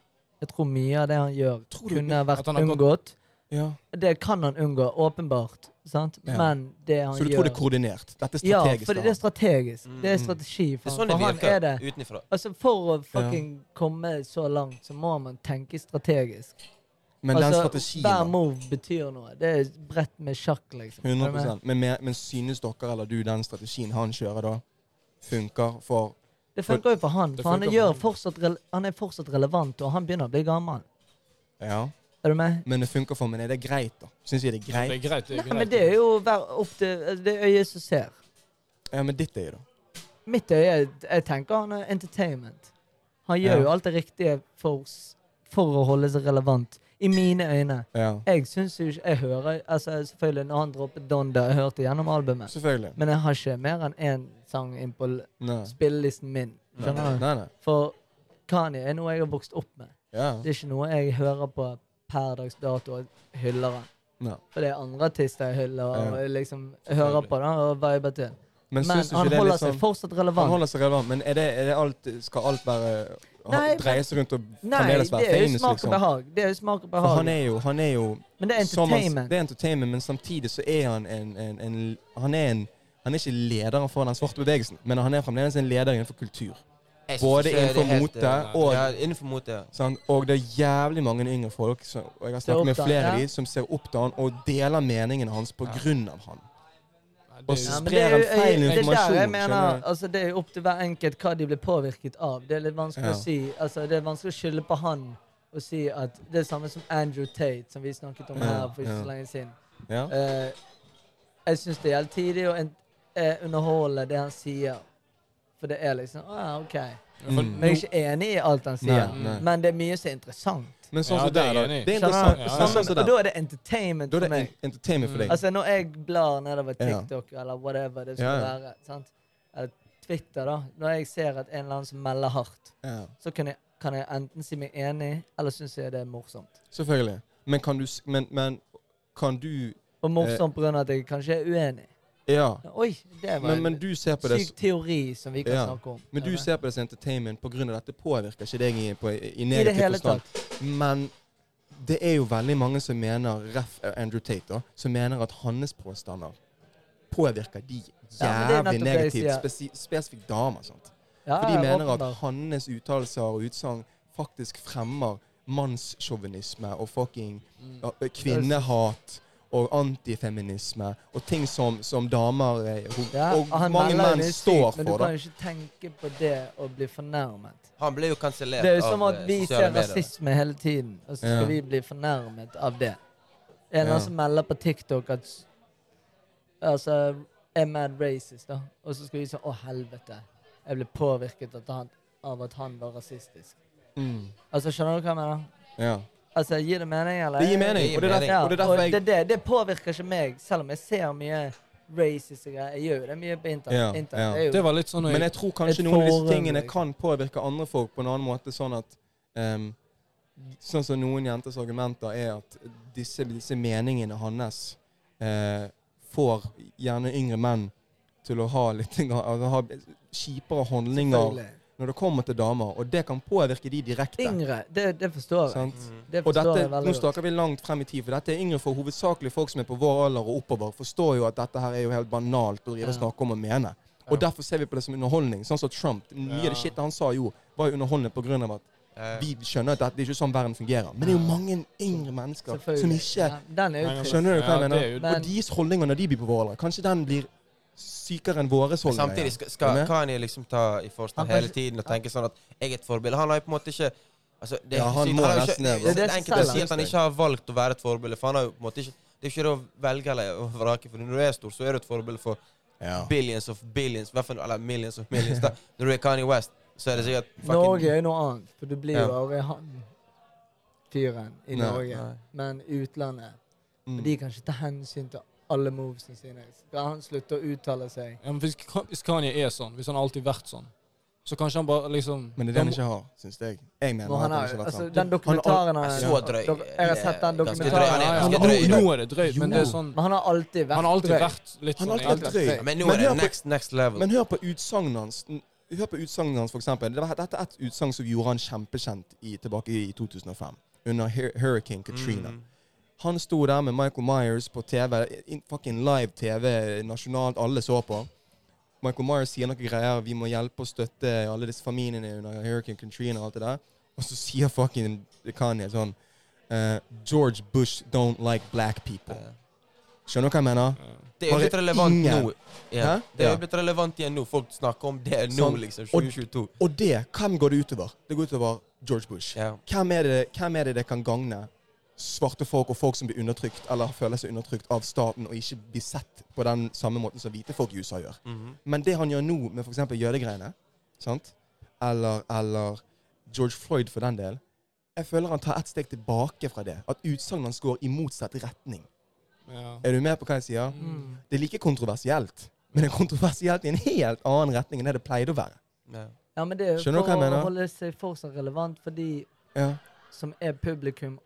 Jeg tror mye av det han gjør, Tror du kunne vært han har gått- unngått. Ja. Det kan han unngå, åpenbart. Sant? Ja. Men det han Så du gjør tror det er koordinert? Dette er Ja, strategisk? for det er strategisk. Mm, Det er mm. strategi. Det For, er han. sånn det for han er det. virker utenfra. Altså, for å fucking komme så langt, så må man tenke strategisk. Men den altså, strategien Hver da, move betyr noe. Det er bredt med sjakk, liksom. 100 men, men, men synes dere eller du den strategien han kjører da, funker for Det funker jo for han, Det for han, funker for gjør han. fortsatt rele- han er fortsatt relevant, og han begynner å bli gammel. Ja. Er du med? Men det funker for meg. Er det greit, da? Syns jeg det er Det greit? er greit. Det er Nei, greit. men det er jo hver opp til altså, det øyet som ser. Ja, men ditt er jo da. Mitt øye Jeg tenker han er entertainment. Han gjør Ja. jo alt det riktige for, s- for å holde seg relevant. I mine øyne. Ja. Jeg syns jo ikke Jeg hører altså selvfølgelig når han droppet Donda, jeg hørte gjennom albumet. Selvfølgelig. Men jeg har ikke mer enn én sang inn på l- Nei. spillelisten min. Nei, Skjønner du? nei. nei. For Kanye er noe jeg har vokst opp med. Ja. Det er ikke noe jeg hører på per dags dato og hyller han. Nei. For det er andre artister jeg hyller og Ja. liksom hører på da, og viber til. Men, Men, synes du ikke han det er holder litt sånn seg fortsatt Han relevant. holder seg relevant, men er det, er det alt, skal alt være ha- Nei, dreie seg rundt og Nei, fremdeles det være er jo famous, smak og liksom? behag. Det er jo smak og For behag. han er jo, han er jo Men det er som han- entertainment. det er entertainment, men samtidig så er han en, en, en Han er en han er ikke lederen for den svarte bevegelsen, men han er fremdeles en leder innenfor kultur. Jeg synes ikke Både det er innenfor helt, mote eh, og Ja, innenfor mote, ja. sant? Sånn, Og det er jævlig mange yngre folk som, og jeg har Ser opp snakket med til han, flere av ja. de, som ser opp til han og deler meningen hans på Ja. grunn av han. Nei, Og det er jo- Ja, men det er sprer jo en feil det er der jeg informasjon, skjønner mener, du? altså, det er jo opp til hver enkelt hva de blir påvirket av. Det er litt vanskelig Ja. å si. Altså, det er vanskelig å skylde på han og si at det er samme som Andrew Tate, som vi snakket om Ja, her for ikke ja. så lenge siden. Ja? Eh, jeg syns det er helt tidlig å en, eh, underholde det han sier. For det er liksom ah, OK. for Mm. Men jeg er ikke enig i alt han Nei, sier. nei. Men det er mye som er interessant. Men sånn Ja, som det er jeg der, da. enig i. Det er Skjønner interessant. du? Ja, Men sånn som Og der, da er det entertainment da for er det meg. en- entertainment for deg. Altså Når jeg blar nedover Ja. TikTok eller whatever det skal Ja, ja. være, sant? eller Twitter, da Når jeg ser at en eller annen som melder hardt, Ja. så kan jeg, kan jeg enten si meg enig, eller syns jeg det er morsomt. Selvfølgelig. Men kan du s- Men, men kan du Og Eh. morsomt pga. at jeg kanskje er uenig. Ja. Oi, det var Men, men en du ser på det s- syk teori som vi kan Ja. snakke om. Men du Eller? ser på det som entertainment på grunn av dette påvirker ikke deg i, på, i I det negativ hele forstand. tatt. Men det er jo veldig mange som mener, ref eh, Andrew Tate, da, som mener at hans påstander påvirker de Ja, men det er nettopp jævlig det jeg negativt, sier. spesi spesifikt damer. Sant? Ja, For de ja, mener at åpenbart. hans uttalelser og utsagn faktisk fremmer mannssjåvinisme og fucking Mm. ja, kvinnehat. Og antifeminisme og ting som, som damer eh, ho- ja, og han mange melder menn det er sykt, står Men du for. da. kan jo ikke tenke på det og bli fornærmet. Han ble jo kansellert Det er jo som at eh, vi sosiale medier. ser rasisme hele tiden, og så skal Ja. vi bli fornærmet av det. En eller Ja. annen som melder på TikTok at s- Altså er mad racist, da. Og så skal vi sånn Å, helvete. jeg ble påvirket at han, av at han var rasistisk. Mm. Altså, Skjønner du hva jeg mener? Ja. Altså, Gir det mening, eller? Det gir mening, gir og det er mening. derfor, Ja, og det er derfor jeg det, det, det påvirker ikke meg, selv om jeg ser mye racist og greier. Jeg gjør jo det mye på internett. Ja, internett. ja. er jo- Det var litt sånn når Men jeg, jeg tror kanskje Et noen av disse forum, tingene liksom. kan påvirke andre folk på en annen måte, sånn at ehm, Sånn som noen jenters argumenter er at disse, disse meningene hans eh, får gjerne yngre menn til å ha litt grann- altså, ha kjipere holdninger Selvfølgelig. når det kommer til damer, og det kan påvirke de direkte. Yngre. Det, det forstår jeg. Sant? Det Og forstår dette, jeg nå veldig godt. snakker vi langt frem i tid, for dette er yngre for hovedsakelig folk som er på vår alder og oppover, forstår jo at dette her er jo helt banalt å drive og Ja. snakke om og mene. Og derfor ser vi på det som underholdning. Sånn som Trump. Mye av det shit han sa jo, var jo underholdende pga. at Eh, vi skjønner at dette- det er ikke sånn verden fungerer. Men det er jo mange yngre mennesker som Selvfølgelig. ikke Ja, Den er jo trist. Skjønner du hva jeg Ja, det er mener? jo- og deres holdninger når de blir på vår alder, kanskje den blir sykere enn våre holdninger. Samtidig skal, Er du skal med? Kanye liksom ta i forstand Han kan hele ikke- tiden og tenke sånn at jeg er et forbilde. Han har jo på en måte ikke altså, det, er ikke Ja, han sykt- må har jo nesten ikke, det, det. bro. er Det liksom. er så det enkelt å si selv. at han ikke har valgt å være et forbilde, for han har jo på en måte ikke Det er jo ikke det å velge eller å vrake, for når du er stor, så er du et forbilde for Ja. billions of billions, i hvert fall eller millions of millions. da. Når du er Kanye West, så er det sikkert Norge er jo noe annet, for du blir Ja. jo aldri han fyren i Nei, Norge. nei. Men i utlandet Mm. De kan ikke ta hensyn til alle movesene sine. Skal han slutte å uttale seg? ja, men hvis, hvis Kanye er sånn, hvis han har alltid vært sånn, så kanskje han bare liksom Mm. Men det er det han ikke har, syns jeg. Jeg mener Må at han det ha, ikke har vært altså, sånn. den dokumentaren han, Så drøy. dok- Jeg har sett den Ganske drøy. ja, Han er dokumentaren. ja, ganske nå, drøy, da. nå er det drøyt, men Jo. det er sånn Men han har alltid vært Han har alltid drøy. vært litt Han sånn. har alltid vært egentlig. drøy. Men nå Men er det hør på- next, next level. Men hør på utsagnet hans. N- Hør på utsagnet hans, for eksempel. Det var- Dette er et utsagn som gjorde han kjempekjent i, tilbake i 2005, under Hur- Hurricane Katrina. Mm. Han sto der med Michael Myers på TV, in, fucking live TV nasjonalt, alle så på. Michael Myers sier noen greier, vi må hjelpe og støtte alle disse familiene under Hurricane Katrina og alt det der. Og så sier fucking Kanye sånn eh, George Bush don't like black people. Ja. Skjønner du hva jeg mener? Det er jo Bare blitt relevant ingen. nå. Ja. Hæ? Det er jo Ja. blitt relevant igjen nå. Folk snakker om det nå, Sånn. liksom. Og- 2022. Og det, hvem går det utover? Det går utover George Bush. Ja. hvem er, det, hvem er det det kan gagne svarte folk og folk som blir undertrykt, eller føler seg undertrykt av staten og ikke blir sett på den samme måten som hvite folk i USA gjør? Mhm. Men det han gjør nå med f.eks. jødegreiene, sant? Eller, eller George Floyd for den del, jeg føler han tar et steg tilbake fra det. At utsagnet hans går i motsatt retning. Ja. Er du med på hva jeg sier? Mm. Det er like kontroversielt, men det er kontroversielt i en helt annen retning enn det det pleide å være. Ja. Ja, men det er jo Skjønner du for hva jeg å mener? holde seg fortsatt relevant for de Ja. som er publikum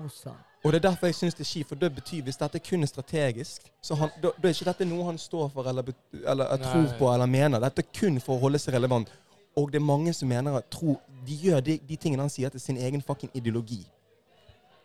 hos han. Og det er derfor jeg syns det er kjipt, for det betyr hvis dette kun er strategisk, så han, da, da er ikke dette noe han står for eller, bet- eller er tror Nei. på eller mener. Dette er kun for å holde seg relevant. Og det er mange som mener at tro De gjør de, de tingene han sier, til sin egen fucking ideologi.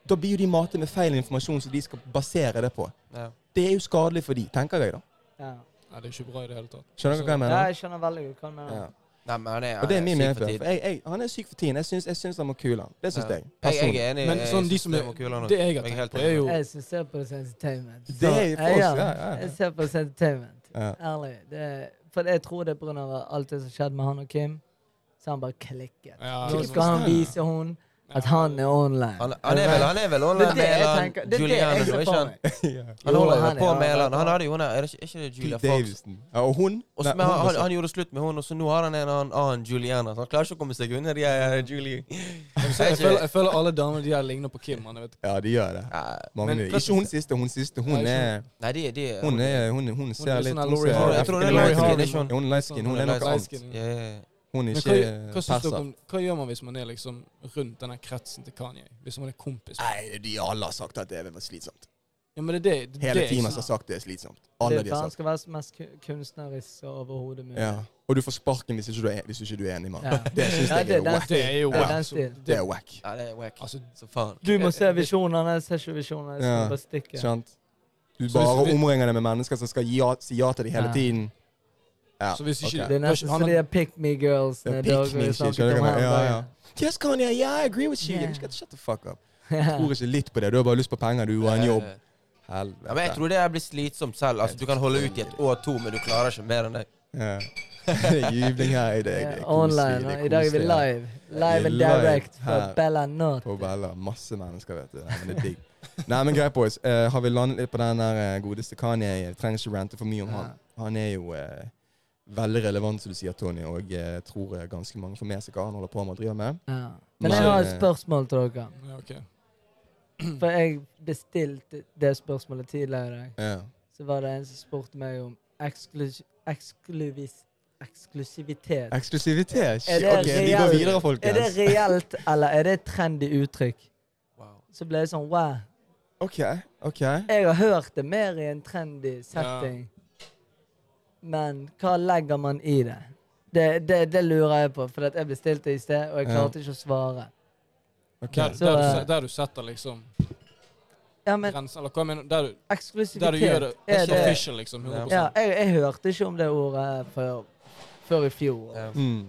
Da blir jo de matet med feil informasjon som de skal basere det på. Ja. Det er jo skadelig for de, tenker jeg, da. Ja. Nei, det er ikke bra i det hele tatt. Skjønner du hva ja, jeg mener? jeg skjønner veldig godt hva han mener. Ja. Nei, men han er, han Og det er min syk mening. for for tiden. jeg- jeg- Han er syk for tiden. Jeg syns- Jeg syns han må kule han. Det syns Ja. jeg. Jeg, jeg Personlig. er enig. Men jeg sånn, de synes som det er, var kul, han også. det jeg har Jeg er tenkt helt på, er jo Jeg som ser på det som entertainment. Det er jo for oss, ja, ja, ja, ja. Jeg ser på det som entertainment. Ja. Ærlig. Det, for jeg tror det er pga. alt det som skjedde med han og Kim. Så han bare klikket. Ja, så det er sånn- skal sant. han vise henne at han er online. Han, han, er vel, han er vel det online er det med jeg Elan tenker. Det er det Juliane, jeg nå, ser ikke for han? meg. Ja. Han Jo, holder han jo på er- med Elan. Han hadde jo hun der, er det ikke, er ikke det Julia Pete Fox? Davidson. Ja, og hun Og Nei, så- men hun han, var han, han gjorde slutt med hun, og så nå har han en annen, annen Juliana. Så han klarer ikke å komme seg unna de her eh, Julie. Så jeg, føler, jeg føler alle damene de der ligner på Kim. Han, jeg vet. Ja, de gjør det. Nei, Mange Men gjør det. ikke hun siste. Hun siste. Hun Nei, ikke er Nei, de, de Hun er Hun, hun Hun ser er litt sånn hun Laurie ser Harvey. Jeg tror det er African Laurie American. Harvey, ikke sant? Ja, Hun er light Sånn, skin. Hun Hun er er noe light annet. Light-skin. Ja, ja, ja. Hun er Men ikke hva, eh, hva, synes dere perser. om, hva gjør man hvis man er liksom rundt denne kretsen til Kanye? Hvis man er kompis? med- Nei, de alle har sagt at det er slitsomt. Ja, men det, er det, det, er Hele det, teamet jeg har synes. sagt det er slitsomt. Alle det, de for har han sagt skal være så mest ku- kunstnerisk som overhodet mulig. altså. ja. Og du får sparken hvis ikke du er, hvis ikke du er enig med Ja. ham. Det syns Ja, jeg det er er den wack. Det er jo Det er den wack. stilen. Det er wack. Ja, det er wack. Altså, Så faen. Du må Eh, se visjonene, jeg ser ikke visjonene. Jeg skal Ja. bare stikke. Sant? Du Så bare hvis vi- omringer deg med mennesker som skal gi ja, si ja til deg hele Ja. tiden. Ja. så hvis ikke ok. Det er eh, nesten han, som de der pick me girls. Ja, når pick Dag me, har shit, snakket skjønner du om hva jeg her mener? om Ja, dagen. Yes, Kanye, yeah, I agree with you. Yeah. Yeah. Shut the fuck up. Ja. Tror ikke litt på det. Du har bare lyst på penger, du, og en jobb. Eh, Helvete. Ja, men jeg tror det her blir slitsomt selv. Altså, du kan holde ut i et år to, men du klarer ikke mer enn det. Ja. Det er Jubling her i dag. Det er Online. koselig. og I dag er vi live. Live and live direct her. fra Bella Not. På Bella. Masse mennesker, vet du. Nei, Men det er digg. Nei, men greit, boys. Eh, har vi landet litt på den der eh, godeste Kanye? Jeg trenger ikke rante for mye om Ja. han. Han er jo eh, veldig relevant, som du sier, Tony, og jeg tror eh, ganske mange får med seg hva han holder på med og driver med. Ja. Men jeg Nei. har et spørsmål til dere. Ja, ok. Mm. For jeg bestilte det spørsmålet tidligere i dag. Ja. Så var det en som spurte meg om eksklus ekskluvis eksklusivitet. Eksklusivitet! Er Shit, det Ok, vi går reelt? videre, Er det folkens. reelt, eller er det et trendy uttrykk? Wow. Så ble jeg sånn wow. Ok, ok. Jeg har hørt det mer i en trendy setting. Men hva legger man i det? Det, det, det lurer jeg på, for at jeg bestilte i sted, og jeg Ja. klarte ikke å svare. ok. Der, Så, der, du, eh, se- der du setter liksom Ja, men grensen, eller hva mener du? Der, du- eksklusivitet der du gjør det, det er er ikke official, liksom. 100%. Ja, jeg, jeg hørte ikke om det ordet før, før i fjor. Ja. Mm.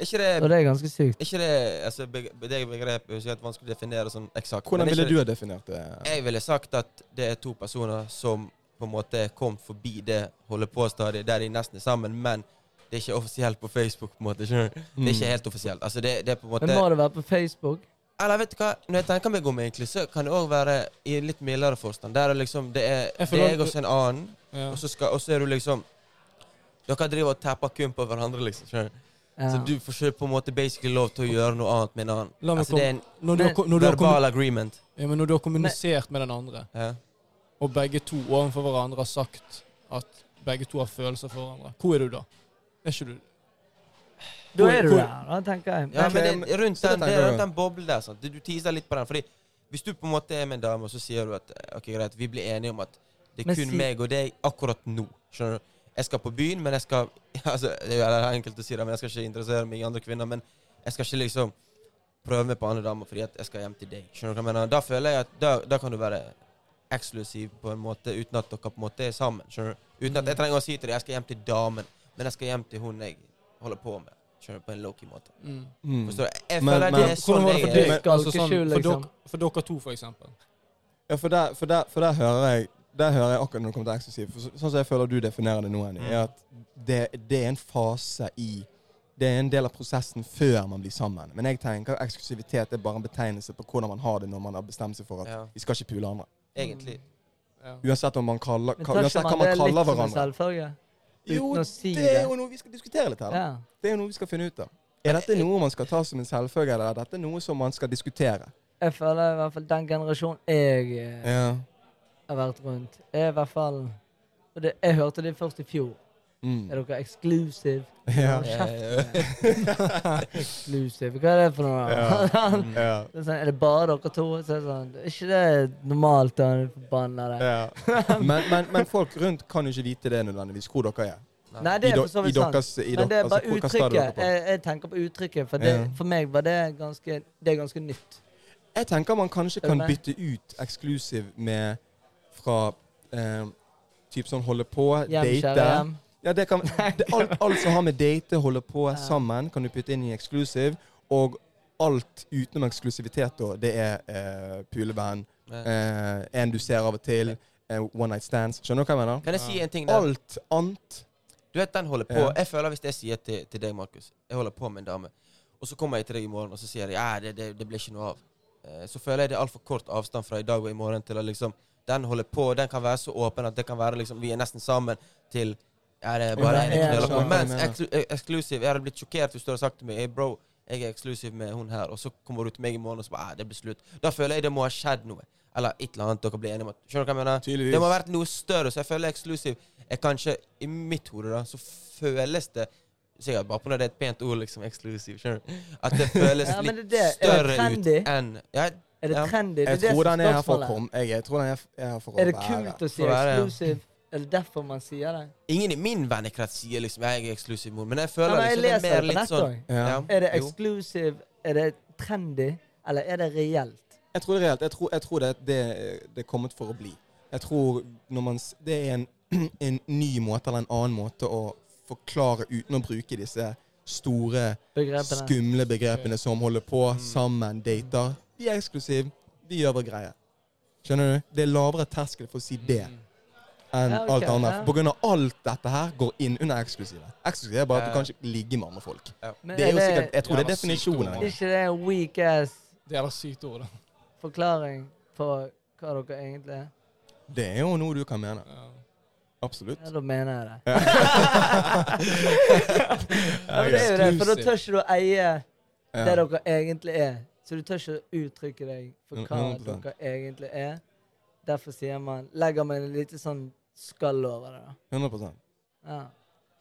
Er ikke det Og det er ganske sykt. er ikke det, altså, beg- det er begrepet er sikkert vanskelig å definere sånn eksakt. Hvordan men er ville ikke du ha definert det? Jeg ville sagt at det er to personer som på en måte kom forbi det holder på-stadiet der de nesten er sammen, men det er ikke offisielt på Facebook. på en måte, skjønner du? Mm. Det er ikke helt offisielt. altså det, det er på en måte... Men må det være på Facebook? Eller vet du hva, når jeg tenker meg om egentlig, så kan det òg være i en litt mildere forstand. Der er liksom, det Jeg er føler- deg og så en annen, Ja. og så, skal, og så er du liksom Dere driver og tapper kun på hverandre, liksom. skjønner du? Ja. Så du får ikke på en måte basically lov til å gjøre noe annet med en annen. La meg Altså Det er en Når du, har, ko- når, du har, kommu- verbal agreement. ja, men når du har kommunisert med den andre, Ja. og begge to overfor hverandre har sagt at begge to har følelser for hverandre, hvor er du da? Er ikke du Da er du hvor- der, da, tenker jeg. Ja, Ok, men det, rundt så det den, det, tenker er du. rundt den boblen der, sant? du teaser litt på den. Fordi hvis du på en måte er med en dame, og så sier du at eh, ok, greit, vi blir enige om at det er Men kun si- meg og deg akkurat nå. Skjønner du? Jeg skal på byen, men jeg skal altså, Det er jo enkelt å si det, men jeg skal ikke interessere meg i andre kvinner. Men jeg skal ikke liksom prøve meg på andre damer fordi at jeg skal hjem til deg. Skjønner du hva jeg mener? Da føler jeg at da, da kan du være eksklusiv på en måte uten at dere på en måte er sammen. Skjønner du? Uten at jeg trenger å si til deg jeg skal hjem til damen, men jeg skal hjem til hun jeg holder på med. Skjønner du? På en low-key måte. mm. Mm. Forstår du? Jeg Men- føler men- det er sånn var det jeg for er. deg? Skal Altså, ikke sånn, skjule, for, liksom. dere, for dere to, for eksempel. Ja, for der, for, der, for der hører jeg Der hører jeg akkurat når det kommer til eksklusiv. For så, sånn som jeg føler du definerer det nå, Henny, er at det, det er en fase i Det er en del av prosessen før man blir sammen. Men jeg tenker eksklusivitet er bare en betegnelse på hvordan man har det når man har bestemt seg for at Ja, vi skal ikke pule andre. egentlig. Ja. Uansett om man kaller, Men ka, tar uansett ikke hva man man det kaller litt som en hverandre. selvfølge? Jo, Uten å si det er det. jo noe vi skal diskutere litt her. da. Ja. Det er jo noe vi skal finne ut av. Er dette noe man skal ta som en selvfølge, eller er dette noe som man skal diskutere? Jeg føler i hvert fall den generasjonen jeg eh, Ja. har vært rundt, er i hvert fall og det, Jeg hørte det først i fjor. Mm. Er dere exclusive? Ja. Hold kjeft. Exclusive? Hva er det for noe? Ja. Mm. Ja. Det er, sånn, er det bare dere to? Så er det sånn, er ikke det normalt? da, den forbannede? Ja. men, men, men folk rundt kan jo ikke vite det nødvendigvis, hvor dere er. Nei, I, det er do- for så i vidt sant. deres, i Men det dere- er bare altså, hvilken stad er dere uttrykket. Eh, på? Jeg, jeg tenker på uttrykket, for, det, Ja. for meg var det ganske, det er ganske nytt. Jeg tenker man kanskje Er kan det meg? bytte ut eksklusiv med fra eh, typ sånn holde på, Hjem, date. kjære hjem. Ja, det kan, det, alt, alt som har med date, holde på, Ja. sammen, kan du putte inn i eksklusiv. Og alt utenom eksklusivitet, da, det er eh, puleband, Men- eh, en du ser av og til, eh, one night stands. Skjønner du hva jeg mener? Kan jeg si en ting der? Alt annet Du vet den holder på. Ja. Jeg føler hvis jeg sier til, til deg, Markus, jeg holder på med en dame, og så kommer jeg til deg i morgen og så sier jeg, ja, det, det, det blir ikke noe av. Eh, Så føler jeg det er altfor kort avstand fra i dag og i morgen til å liksom Den holder på, den kan være så åpen at det kan være liksom Vi er nesten sammen til ja, det er bare Ja, en knull. ja, jeg skjønner hva du Mens mener. eksklu- eh, eksklusiv Jeg hadde blitt sjokkert hvis du hadde sagt til meg hey, bro, jeg er eksklusiv med hun her, og så kommer du til meg i morgen og så bare, ja, det blir slutt. Da føler jeg det må ha skjedd noe. Eller et eller annet dere blir enige om. at- Skjønner du hva jeg mener? tydeligvis. Det må ha vært noe større, så jeg føler eksklusiv er kanskje I mitt hode da, så føles det Sikkert bare på når det er et pent ord, liksom. Eksklusiv. Skjønner du? At det føles Ja, men litt det er det. Er det større ut trendy? enn ja, Er det Ja. trendy? Det Jeg er det tror som den er her for å spørsmålet. komme. Jeg, jeg tror den er f- er her for å Er det være. kult å si For å være, ja. exclusive? Er det derfor man sier det? Ingen i min vennekrets sier liksom jeg er eksklusiv mor, men jeg føler Nei, men jeg liksom det er leser mer det på litt nett sånn òg. Ja. ja, Er det jo. exclusive? Er det trendy? Eller er det reelt? Jeg tror det er reelt. Jeg tror, jeg tror det, det, det er kommet for å bli. Jeg tror når man, s- det er en, en ny måte eller en annen måte å forklare uten å bruke disse store, Begrepene? skumle begrepene som holder på sammen, dater. Vi er eksklusive. Vi gjør vår greie. Skjønner du? Det er lavere terskel for å si det Mm. enn Ja, ok, alt annet. ja. På grunn av alt dette her går inn under eksklusive. Eksklusive er bare at du Ja. kan ikke ligge med andre folk. Men Det er jo det- sikkert, Jeg tror det er Jævla sykt definisjonen. ord. er ikke det en weak ass Det er et sykt ord, da. forklaring på hva dere egentlig er? Det er jo noe du kan mene. Ja. Absolutt. Ja, da mener jeg det. Ja. Ja, men det er jo det, for da tør ikke du eie det Ja. dere egentlig er. Så du tør ikke å uttrykke deg for hva 100%. dere egentlig er. Derfor sier man Legger man et lite sånn skall over det, da. 100 Ja.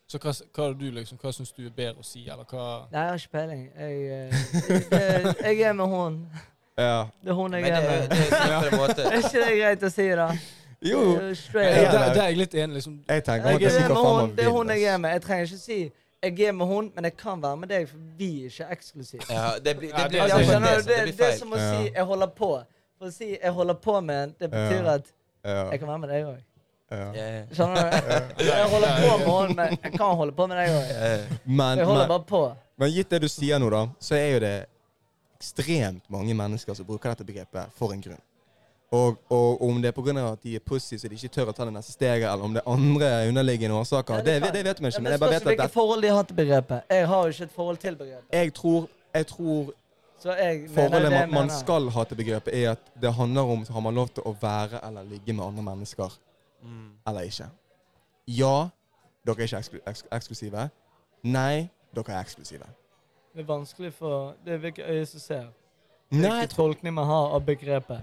Så hva, hva, er det du liksom, hva syns du er bedre å si, eller hva Nei, jeg har ikke peiling. Jeg, eh, det, jeg er med hun. ja. Det er hun Men jeg det er er, med. det er sikkert en måte. Er ikke det greit å si, da? Jo, Det er jo Der, Straight Ja, up. der, det er- der er jeg litt enig. liksom. jeg tenker man Jeg kan si er med hva faen hun, man det er hun vil. jeg er ass. med. Jeg trenger ikke si jeg er med hun, men jeg kan være med deg, for vi er ikke eksklusive. Ja, det blir, det Ja, blir, det- det, Altså, blir- skjønner du, det, det, blir det er feil. som å si Ja. 'jeg holder på'. For å si 'jeg holder på med en', det betyr Ja. at jeg kan være med deg òg. Ja. Ja, ja. Skjønner du? Jeg holder på med henne, men jeg kan holde på med deg òg. Men, Jeg holder men, bare på. men gitt det du sier nå, da, så er jo det ekstremt mange mennesker som bruker dette begrepet for en grunn. Og, og om det er pga. at de er pussy så de ikke tør å ta det neste steget, eller om det er andre underliggende årsaker, Ja, det, det kan- det vet vi Ja, ikke. men Men det jeg bare spørs vet at hvilke det, forhold de har til begrepet. Jeg har jo ikke et forhold til begrepet. jeg tror, jeg tror Så jeg mener Forholdet det jeg man, man mener. skal ha til begrepet, er at det handler om har man lov til å være eller ligge med andre mennesker Mm. eller ikke. Ja, dere er ikke eksklu eks eksklusive. Nei, dere er eksklusive. Det er vanskelig for Det er hvilke øyne som ser. Nei, Hvilken tolkning man har av begrepet.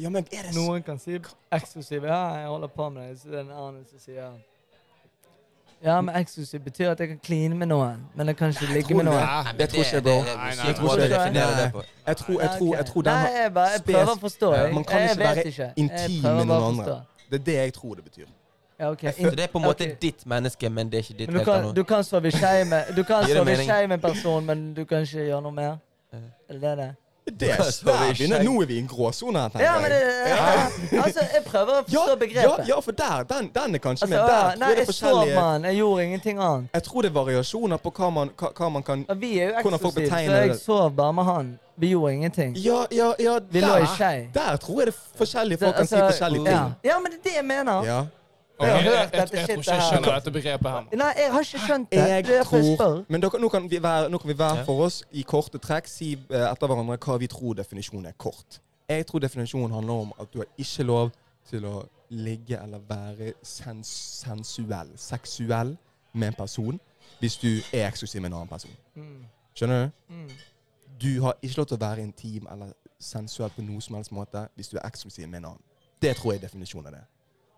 ja, men er det så Noen kan si eksklusiv. Ja, jeg holder på med det. Så det er en annen som sier Ja, men eksklusiv betyr at jeg kan kline med noen, men jeg kan ikke ligge med noen. Nei, Det tror ikke jeg, bro. det- det- Nei, Jeg tror nei, ikke jeg nei. definerer det på. Jeg tror, jeg tror, jeg tror den Nei, har jeg, bare, jeg prøver å forstå. Ja, Jeg, man kan jeg ikke vet være ikke. intim Jeg prøver med bare noen å andre. forstå. Det er det jeg tror det betyr. Ja, ok. Så det er på en måte Ok. ditt menneske, men det er ikke ditt Men du helt kan, annet. du kan svare skei med Du kan Gir det svare mening? skei med en person, men du kan ikke gjøre noe mer? Eh. Ja. Er det det? Det er Så vi der begynner- skjeng- Nå er vi i en gråsone her, tenker Ja, men det, jeg. ja, altså, jeg prøver å Ja, forstå ja, begrepet. ja, for der, den, den er kanskje Altså, med. ja, Der nei, tror jeg det er jeg så forskjellige mann. Jeg gjorde ingenting annet. Jeg tror det er variasjoner på hva man, hva, hva man kan Ja, Vi er jo Hvordan folk eksklusive, så betegner jeg det. sov bare med han. Vi gjorde ingenting. Ja, ja, ja, Vi lå i skei. Der tror jeg det er forskjellige Så, folk kan si altså, forskjellige ja. ting. ja, men det er det jeg mener. Ja. Ok, Jeg har jeg, jeg, hørt jeg, dette tror ikke shitet jeg her. skjønner dette begrepet her. man. Nei, jeg har ikke skjønt det. Jeg det er derfor jeg spør. tror Men dere, nå, kan vi være, nå kan vi Ja. være for oss i korte trekk si eh, etter hverandre hva vi tror definisjonen er kort. Jeg tror definisjonen handler om at du har ikke lov til å ligge eller være sens sensuell, seksuell, med en person hvis du er eksklusiv med en annen person. Mm, Skjønner du? mm. Du har ikke lov til å være intim eller sensuell på noen som helst måte hvis du er eksklusiv med en annen. Det tror jeg er definisjonen av det.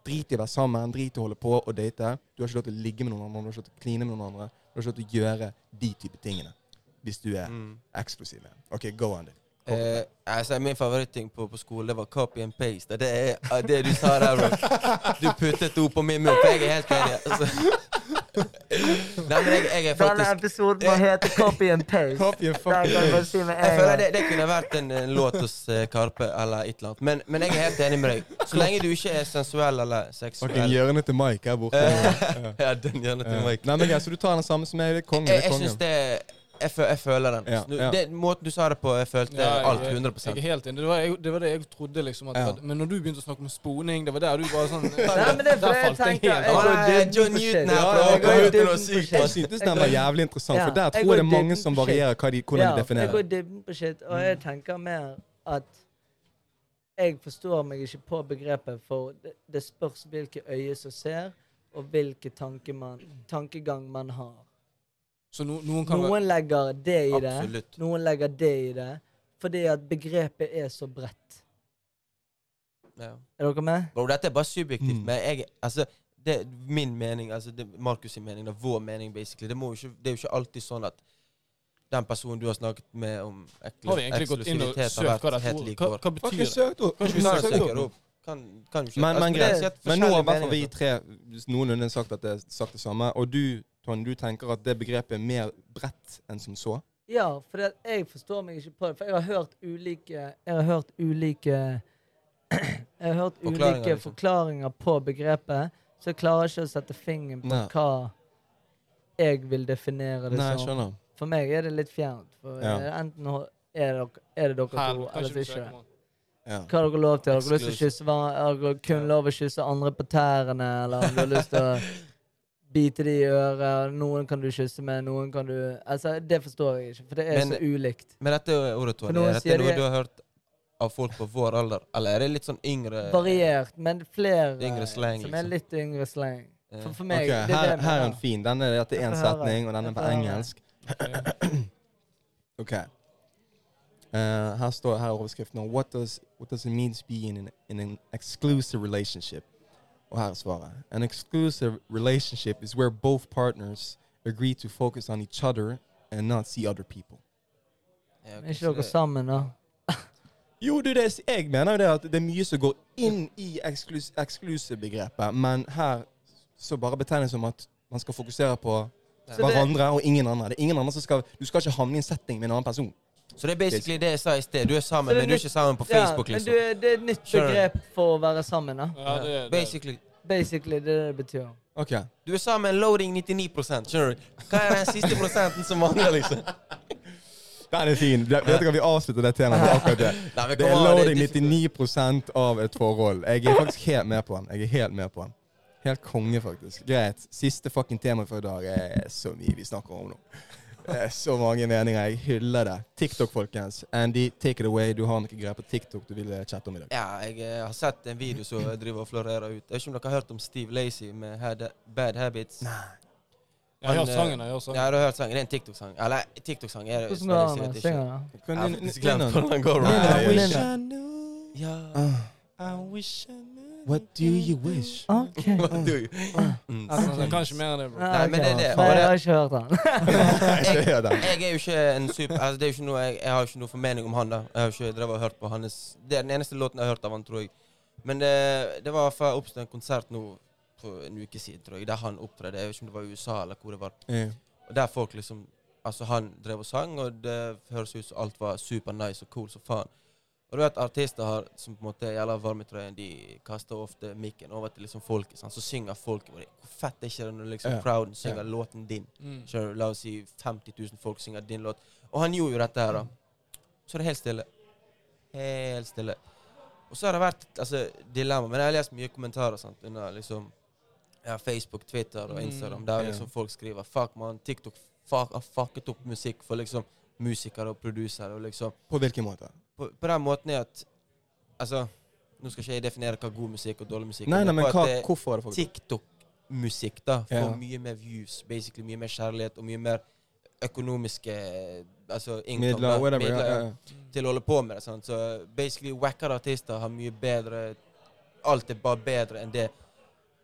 Drit i å være sammen, drit i å holde på og date. Du har ikke lov til å ligge med noen andre, du har ikke lov til å kline med noen andre. Du har ikke lov til å gjøre de type tingene hvis du er Mm. eksklusiv med en. OK, go on. dude. Eh, altså, min favorittting på, på skole var copy and paste. og Det er ah, det du sa der, bro. Du puttet det opp på min munn, for jeg er helt enig. Altså. Nei, men jeg, jeg er Denne faktisk episoden må hete Copy and Paste. Copy and Den kan jeg fucking bare si med jeg en føler gang. det, det kunne vært en, en låt hos eh, Karpe eller et eller annet. Men, men jeg er helt enig med deg. Så lenge du ikke er sensuell eller Fucking seksuell hjørnet til Mike her borte. Ja, den gjerne til Ja. meg. Nei, men greit, så du tar den samme som meg? Det er kongen. Jeg, Det er jeg syns kongen. det jeg, fø, jeg føler den. Ja, Snu- ja. Det, måten du sa det på, jeg følte Ja, alt. 100 Jeg er helt enig. Det var, jeg, det var det jeg trodde. liksom. At, Ja. at- Men når du begynte å snakke om sponing, det var der du bare sånn Nei, men det Der er fordi jeg falt jeg tenker helt jeg- av. Å, nei, John Newton her, bro. Jeg går i Kom ut med noe dybden på sykt, Jeg shit. syntes den var jævlig interessant, for Ja, der jeg tror går jeg det er dybden mange på som shit. varierer hva de, hvordan de Ja, jeg definerer går i det. dybden på shit, og jeg tenker mer at jeg forstår meg ikke på begrepet, for det, det spørs hvilke øyne som ser, og hvilken tanke man, tankegang man har. Så no, noen kan være Noen legger det i det, Absolutt. noen legger det i det, fordi at begrepet er så bredt. Ja. Er dere med? Bro, dette er bare subjektivt, Mm. men jeg, altså, det er min mening, altså det er Markus' sin mening, det er vår mening, basically. Det, må jo ikke, det er jo ikke alltid sånn at den personen du har snakket med om eklu- Har vi egentlig gått inn og eksklusivitet, søkt hva det helt tror? lik Hva, vår. hva betyr Fucking det? søkt opp. Kanskje vi Nei, søker søker opp? opp. Kan, kan jo ikke Men, altså, men det er greit. helt Men nå har i forskjellige hvert fall vi meninger. tre noenlunde sagt at det er sagt det samme. Og du, Tonje, du tenker at det begrepet er mer bredt enn som så? Ja, for det, jeg forstår meg ikke på det, for jeg har hørt ulike Jeg har hørt ulike Jeg har hørt Forklaringer, ulike liksom. forklaringer på begrepet, så jeg klarer ikke å sette fingeren på Nei. hva jeg vil definere det Nei, jeg som. skjønner. For meg er det litt fjernt. For Ja. eh, Enten ho- er det dere, er det dere Her, to, kanskje eller vi ikke. søker om- Ja. Hva har dere lov til? Har dere lyst til å Exclusive. kysse hver- har dere kun lov å kysse andre på tærne, eller har dere lyst til å bite de i øret? Noen kan du kysse med, noen kan du Altså, det forstår jeg ikke, for det er Men- så ulikt. Men dette er ordet, For Tony. noen Er dette sier noe det- du har hørt av folk på vår alder? Eller er det litt sånn yngre Variert, men flere Yngre slang, som er liksom. litt yngre slang. Eh, For, for meg, Ok, det er her, det her er jeg en fin. Denne er at det er én Jeg får høre. setning, og denne er Jeg på får høre. engelsk. Ok. Eh, her står her er overskriften om what does, what does it mean to be in an, in an exclusive relationship? Og her er svaret. An exclusive relationship is where both partners agree to focus on each other and not see other people. ja, ok, Er så ikke dere det- sammen, da? Jo, du, det, jeg mener jo det at det er mye som går inn i eksklus- eksklusiv-begrepet, men her så bare betegnes det som at man skal fokusere på Så det- hverandre og ingen andre. Det er ingen andre som skal, Du skal ikke havne i en setting med en annen person. Så det er basically det jeg sa i sted. Du er Så sammen, det er men du er nytt- ikke sammen på Facebook, ja, men liksom. du, det er et nytt Sure. begrep for å være sammen, da. Ja, det, er- det. er- Basically. Basically, det er det det betyr. Eh, Ok. Du er sammen loading 99 skjønner du? Hva er den siste prosenten som mangler, liksom? Den er fin. Det- Dette kan vi avslutte det temaet med akkurat det. Nei, men Det er come on, loading difficult. 99 av et forhold. Jeg er faktisk helt med på den. Jeg er helt med på den. Helt konge, faktisk. Greit. Siste fucking tema for i dag er så mye vi snakker om nå. Det er så mange meninger. Jeg hyller det. TikTok, folkens. Andy, take it away. Du har noe greier på TikTok du ville chatte om i dag. Ja, jeg eh, har sett en video som driver og florerer ut. Jeg vet ikke om dere har hørt om Steve Lacey med Had Bad Habits? Jeg har Han, hørt eh, sangen. jeg har hørt Ja, sangen. du har hørt sangen. Det er en TikTok-sang. Eller, TikTok-sang er det. Hvordan skal jeg går si at det med det ikke- synger, da? Jeg har faktisk Nynne- glemt hvordan den går. Nynne- Nei, I wish Nynne. I knew. Ja. I wish I knew. Ah, What do you wish? OK. Hva du? Mm. Altså, jeg kan ikke mer enn det, bro. Nei, Nei, men det er ok. det. Nei, Og det- jeg har ikke hørt den. Jeg hører den. Jeg er jo ikke en super altså, det er jo ikke noe, jeg, jeg har jo ikke noe formening om han. da Jeg har jo ikke drevet og hørt på hans Det er den eneste låten jeg har hørt av han, tror jeg. Men det, det var fra oppstod en konsert nå for en uke siden, tror jeg, der han opptredde. Jeg vet ikke om det var i USA eller hvor det var. Ja. Og der folk liksom Altså, han drev og sang, og det høres ut som alt var super nice og cool som faen. Og du vet, artister har, som på en måte gjelder varmetrøyen, de kaster ofte mikken over til liksom folket. sant? Så synger folk. Og det, hvor fett er ikke det når liksom Ja. crowden synger Ja. låten din? Mm. Skjønner du, La oss si 50 000 folk synger din låt. Og han gjorde jo dette her, da. Så er det helt stille. Helt stille. Og så har det vært altså, dilemma. Men jeg har lest mye kommentarer sant, under liksom, ja, Facebook, Twitter og Instagram, Mm, der ja. liksom folk skriver 'fuck, mann', TikTok fuck, har fucket opp musikk for liksom musikere og produsere og liksom På hvilken måte? på, på den måten er at Altså, nå skal ikke jeg definere hva god musikk og dårlig musikk er. Nei, nei, er men bare at hva, det- hvorfor er det folk TikTok-musikk da får Ja. mye mer views, basically mye mer kjærlighet og mye mer økonomiske altså income, Midler, da, whatever. midler, Ja, ja, ja. til å holde på med det. Sant? Så basically wackere artister har mye bedre Alt er bare bedre enn det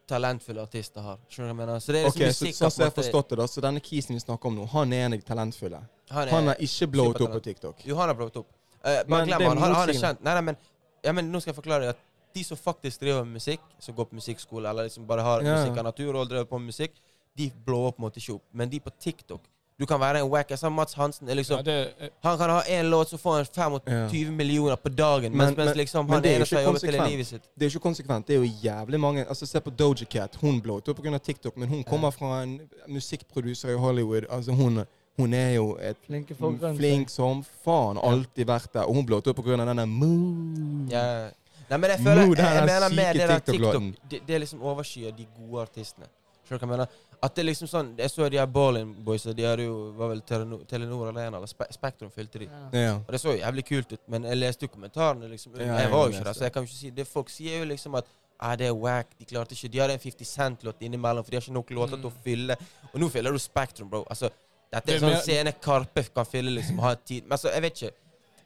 talentfulle artister har. Skjønner du hva jeg mener? Så det er Ok, liksom så, musikk sånn som jeg har på en måte- forstått det da, så denne kisen vi snakker om nå, han er en av de talentfulle. han Han er ikke blowet opp på supertalent. TikTok. Jo, han har blowet opp. Eh, Men bare det glem er han. Han, han er motsigende. kjent. Nei, nei, men, ja, men nå skal jeg forklare deg at de som faktisk driver med musikk, som går på musikkskole eller liksom bare har Ja, ja. musikk av natur og driver på med musikk, de blower på en måte ikke opp. Men de på TikTok Du kan være en wack. Jeg sa Mats Hansen er Ja, liksom det er, eh, Han kan ha én låt, så får han 25 millioner på dagen. Mens, Men- men- mens liksom men han det er jo eneste ikke har jobbet til i konsekvent. livet sitt. Det er jo ikke konsekvent. Det er jo jævlig mange Altså, se på Doja Cat. Hun blowet opp pga. TikTok, men hun kommer fra en musikkproduser i Hollywood. Altså, hun, hun er jo et Flinke Mm, folk rundt seg. flink som faen. Alltid vært der. Og hun blowet opp pga. denne Moo. Ja. Nei, men jeg føler Mo, jeg, den er mener mer syke det der TikTok TikTok-låten. det, det liksom overskyer de gode artistene. Skjønner du hva jeg mener? At det er liksom sånn Jeg så de her Berlin Boys, og de hadde jo var vel Telenor, Telenor Arena, eller Spe Spektrum fylte de. Ja. Ja. Og det så jævlig kult ut, men jeg leste jo kommentarene, liksom. Ja, jeg jeg var jo leste ikke der, det. så jeg kan jo ikke si det. Folk sier jo liksom at ah, det er wack, de klarte ikke De hadde en 50 Cent-låt innimellom, for de har ikke nok låter til å fylle. Og nå fyller du Spektrum, bro. Altså, dette Det er er sånn mer- scene Karpe kan fylle, liksom. Ha tid. Men altså, jeg vet ikke.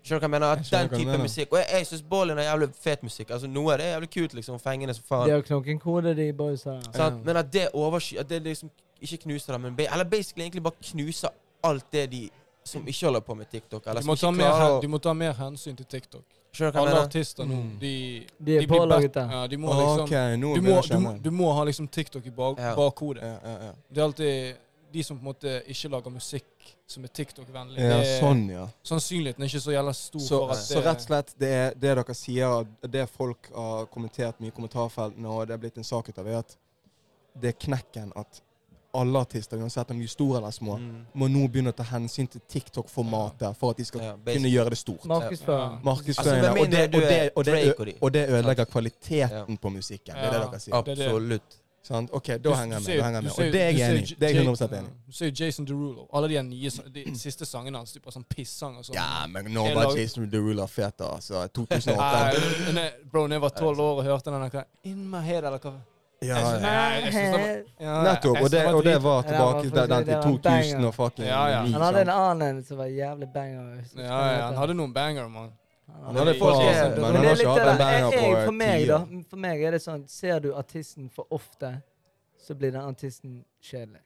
Skjønner du hva jeg mener? At Jeg skjønner den hva du type mener. musikk Og jeg, jeg syns Ballin er jævlig fet musikk. Altså Noe av det er jævlig kult, liksom. Fengende som faen. De har knokken kode, de boysa. sant? Ja. Men at det oversky At det liksom ikke knuser dem, men ba- Eller basically egentlig bare knuser alt det de som ikke holder på med TikTok, eller du, som må ta ikke mer, klarer hen- å du må ta mer hensyn til TikTok. Skjønner du hva jeg Alle mener? artister nå, Mm. de, De er blir bet- pålaget det. Ja, de må liksom OK, nå du begynner må, jeg å du, skjønne. du må ha liksom TikTok i bak, Ja. bakhodet. Ja, ja, ja. Det er alltid de som på en måte ikke lager musikk som er TikTok-vennlig. ja, Det er- sånn, ja. Sannsynligheten er ikke så jævla stor Så, for at så det rett og slett, det er det dere sier, at det folk har kommentert mye i kommentarfeltene, og det er blitt en sak ut av, er at det er knekken at alle artister, uansett om de er store eller små, Mm. må nå begynne å ta hensyn til TikTok-formatet for at de skal Ja, kunne basically. gjøre det stort. Markedsføring. Markedsføringen. Altså, med og, det, mindre og, du det, er og, det, Drake og de. ø- og det ødelegger kvaliteten på musikken. Det er det Ja. dere sier. det er det. Absolutt. Sant? OK, Du- da henger du jeg med. ser- Da henger jeg du med. ser- Og det er du jeg ser enig i. Det er jeg Jay- 100 enig i. ja, Du ser Jason Derulo. Alle de, her nye, sa- de siste sangene hans, de bare sånn pisssang og sånn. Ja, men nå Jeg var lag- Jason Derulo fet, altså. Nei, 2008. ne- bro, når jeg var tolv år og hørte den der hva- In my head, eller hva Ja, Jeg synes- ja. Nei, jeg synes det var- Ja, Nettopp. jeg synes Og det, var og det drit- var Ja, det var tilbake til den faktisk- til det var en 2000 banger. og fucking Ja, ja. 9. Han hadde en sant? annen en som var jævlig banger. hvis du Ja, husker ja, han den. hadde noen banger, mann. Han hadde et par, Folk er- men Men han det har er ikke litt hatt en det der. banger Jeg- jeg- på For meg, ti da. år. For meg er det sånn Ser du artisten for ofte, så blir den artisten kjedelig.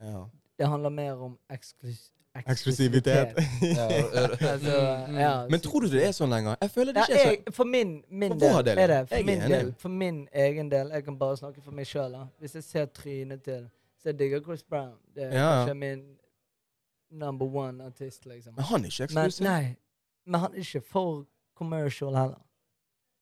Ja. Det handler mer om eksklus Eksklusivitet. altså, Mm, ja, Men tror du det er sånn lenger? Jeg føler det ja, ikke er sånn- jeg, For min, min For vår del, del, er ja. det. For Jeg er min, enig. del, for min egen del. Jeg kan bare snakke for meg sjøl. Hvis jeg ser trynet til Så jeg digger Chris Brown. Det er Ja, ja. kanskje min number one artist, liksom. sånn. Men han er ikke Men, eksklusiv. nei, men han er ikke for commercial heller.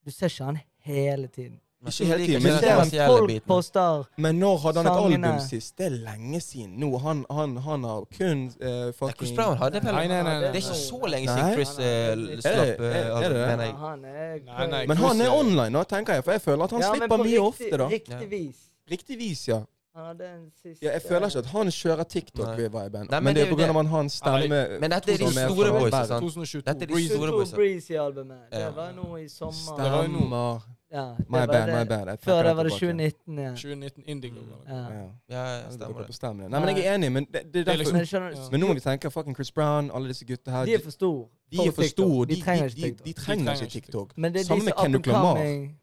Du ser ikke han hele tiden. Ikke hele tiden, Du men det ser er at folk poster Men når hadde han et Sangene. album sist? Det er lenge siden. Nå, han, han, han har kun eh, Chris fucking Brown hadde vel Nei, nei, nei. Det er nei. ikke nei. så lenge Nei. siden Chris Nei, nei, det er eh, litt- Er slapp det- er- eh, er det album. det? Nei, Ja, Han er Nei, nei, Men han er online nå, tenker jeg, for jeg føler at han Ja, men slipper på mye riktig- ofte. da. Riktig Ja. vis. Riktig vis, ja. Han hadde en siste ja. Jeg føler ikke at han kjører Nei. TikTok-viben, Nei, men men det det er er på jo grunn av at han stemmer med Men dette er de Som er store fra boysa, Bergen. sant? 2022. Dette er de Breeze. store Super boysa. Breezy-albumet. Det Ja. var nå i sommer. Det var jo noe- Stemmer. Ja, det My var bad, det. my bad. Jeg Før trekker det var det tilbake. 2019 igjen. 2019 Indigo. eller? Ja. Ja. Ja, ja, Jeg stemmer lurer på det. stemmen. Nei, men jeg er enig, men det, det er Det er derfor liksom- Men skjønner Ja. du, Men nå må vi tenke fucking Chris Brown, alle disse gutta her. de er for store. de er for TikTok. store. De trenger ikke de, TikTok. de trenger De ikke trenger ikke TikTok. Men det er Samme de med som Kendrick up and Lamar. coming,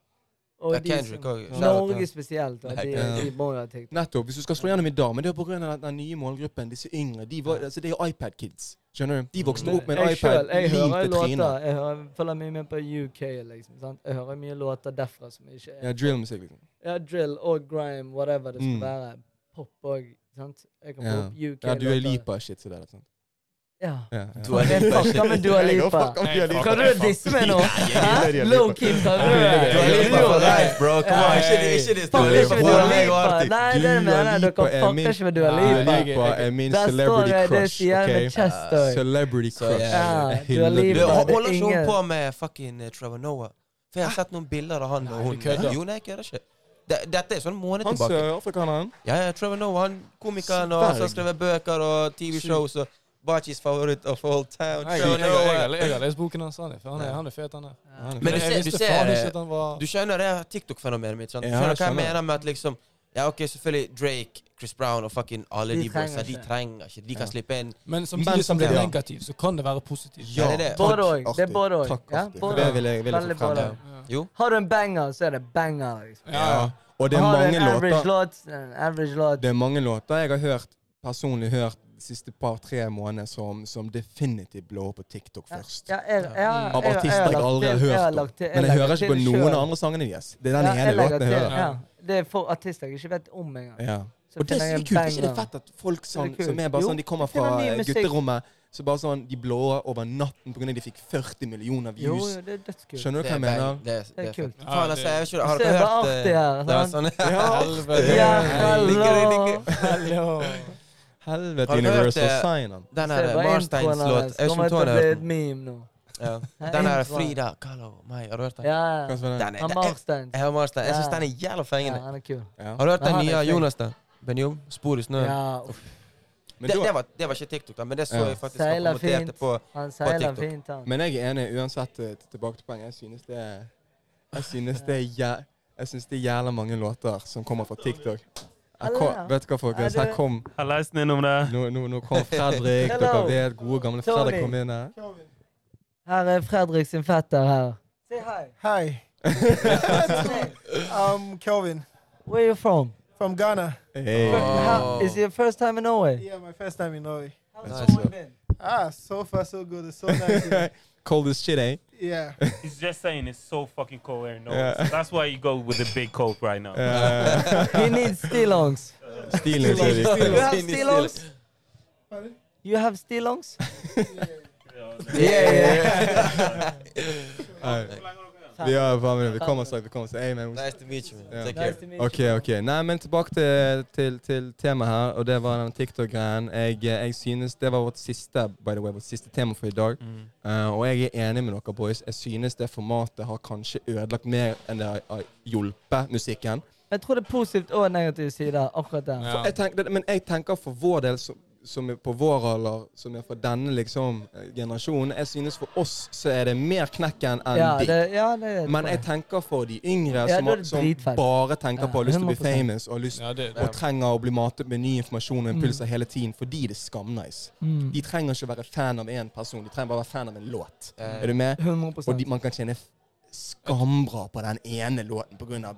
og Ja, de Kendrick som, òg. Norge spesielt, og Nei, de, ja. de må jo ha TikTok. Nettopp. Hvis du skal slå gjennom i dag, men det er pga. den nye målgruppen, disse yngre. De var, altså, det er jo iPad-kids. Skjønner du? De vokste Men opp med en jeg iPad selv, jeg lim hører til trynet. låter, jeg hører, følger mye med på UK, liksom. sant? Jeg hører mye låter derfra som ikke er Ja, drill-musikk, liksom. ja, drill og grime, whatever det skal Mm. være. Pop og sant? Jeg kan Ja. få opp UK-låter. Ja, du er Lipa-shit så der. Sånn. Ja. Ja, ja. Dua Jeg Lipa. fucker med Dua Jeg går Lipa. fuck om Dua Lipa. Skal du disse meg nå? gillar Dua Lipa. Low-key, skal du? Dua Lipa for Jo, life, bro. Come on, Ja. ikke de- ikke de Fuck store. ikke med Dua Nei, jeg Lipa. har alltid- Nei, det Dua mener jeg. Lipa Dere er min- fucker ikke med Dua Lipa. Dua Lipa er min Der står celebrity det det crush. sier jeg ok? Eh, med chest òg. Celebrity Så crush. jævlig. Ja, Jeg Dua hyller Lipa. Du, Dua det er Holder ikke hun ingen- på med fucking eh, Trevor Noah? For jeg har sett noen bilder av han Nei, og hun. du kødder. Jo, nei, jeg kødder ikke. Det- Dette er sånn en måned Han tilbake. sørafrikaneren. Ja, ja, Trevor Noah, han komikeren og han som har Sverg. skrevet bøker og TV-shows og Bachis favoritt of all town. Nei, Jeg, Trevor jeg, jeg, jeg, Noah. har- jeg har lest boken hans. Han er, han er, han er fet, han er. Han er Men du jeg ser- du visste ser- faen ikke at han var Du skjønner det her TikTok-fenomenet mitt? sant? Du Ja, skjønner jeg hva jeg skjønner. mener med at liksom Ja, OK, selvfølgelig Drake, Chris Brown og fucking alle De de trenger boysa. De ikke. trenger ikke. De kan Ja. slippe inn Men Men samtidig som som det er det, ja. negativt, så kan det være positivt. Ja, det er det. Både Takk, òg. Det er Arthur. både òg. Takk, Ja, Arthur. både det og. vil jeg, vil jeg Veldig få frem. både. Jo. Har du en banger, så er det banger. liksom. Ja, ja. Og det er har du mange en average låter låt, så er det en average låt. Det er mange låter jeg har hørt personlig hørt de siste par-tre månedene som, som definitivt blå på TikTok Ja, først. ja, jeg- jeg- jeg- Av artister jeg lagt aldri har til- hørt har om. lagt til- Men jeg hører legger ikke til på det noen selv. andre sangene deres. Det er den Ja, ene legger låten jeg til, hører. Ja. Det er for artister jeg ikke vet om engang. Ja. Så Og det finner er jeg så en kult. Er ikke det banger. fett at folk som, Det er kult. som er bare Jo, sånn, de kommer det finner fra ny eh, musikk. gutterommet, så bare sånn De blå over natten pga. de fikk 40 millioner Jo, views. jo, det er dødskult. Skjønner du hva jeg bang. mener? Det er, Det er kult. Ja, Faen, altså, jeg vet ikke, har Du dere ser hørt bare artig altså. her, eh, det var sant? sånn- Helvete. Ja, Ligger det- hallo! ligger- Hallo. Helvete, Har du hørt Universal det? Sign-on. Den Se her bare Marsteins introen låt hans. Jeg vet ikke Kommer om til å Tony har bli hørt et den. meme nå. Ja. Nei, Den her introen. Frida Kahlo Mai, har du hørt den? Ja, Hva ja. som er den? Den er, Han det er- Marstein. jeg har Marstein. Jeg syns Ja. den er jævla Ja, fengende. han er kul. Ja. Har du hørt Ja, den han er nye av flink. Jonas, da? Benjom? Spor i snøen. Ja, uff, Men det, da- det, var, det var ikke TikTok, da, men det så Ja. jeg faktisk han Seiler kommenterte fint. på Han seiler TikTok. fint, han. Men jeg er enig uansett eh, til- tilbake til poenget. Jeg synes det er Jeg synes det er, jæ- jeg synes det er jævla mange låter som kommer fra TikTok. Jeg kom, vet du hva, folkens? Her kom Jeg har lest den innom det. Nå, nå, nå kom Fredrik. Dere Hello. vet gode, gamle Fredrik kom inn her. Her er Fredrik sin fetter her. Say hi. Hi, I'm Kelvin Where you from? from Ghana. Hey. How, is it your first time in Norway? Yeah, my first time in Norway. How's Nice, Norway yeah. been? Ah, so far so good. It's so nice. here. Cold as shit, eh? yeah. He's just saying it's so fucking cold here in Norway. Yeah. So that's why you go with the big coat right now. He needs stilongs. Eh, Stilen så You viktig. have stilongs? You have stilongs? Yeah, Vi har faen meg Vi kommer snart. Vi kommer snart. Hey, man. Nice to meet you. man. Ja. Take care. Nice to meet you. Ok, ok. Nei, men tilbake til, til, til temaet her, og det var den TikTok-greien. Jeg, jeg synes det var vårt siste, by the way, vårt siste tema for i dag. Eh, og jeg er enig med dere, boys. Jeg synes det formatet har kanskje ødelagt mer enn det har- har hjulpet musikken. Jeg tror det er positivt og negative sider akkurat der. Ja. Jeg tenker, men jeg tenker for vår del så som er på vår alder, som er fra denne liksom eh, generasjonen Jeg synes for oss så er det mer knekken enn Ja, ditt. det, ja, det er Men jeg tenker for de yngre Ja, som, da er det som dritfett. bare tenker Ja, på har lyst til å bli 100%. famous og, har lyst, Ja, Mm. det, og trenger å bli matet med ny informasjon og impulser hele tiden fordi det er skamnice. Mm. De trenger ikke å være fan av én person, de trenger bare å være fan av en låt. Eh, Er du med? 100 Og de, man kan tjene f- skambra på den ene låten pga.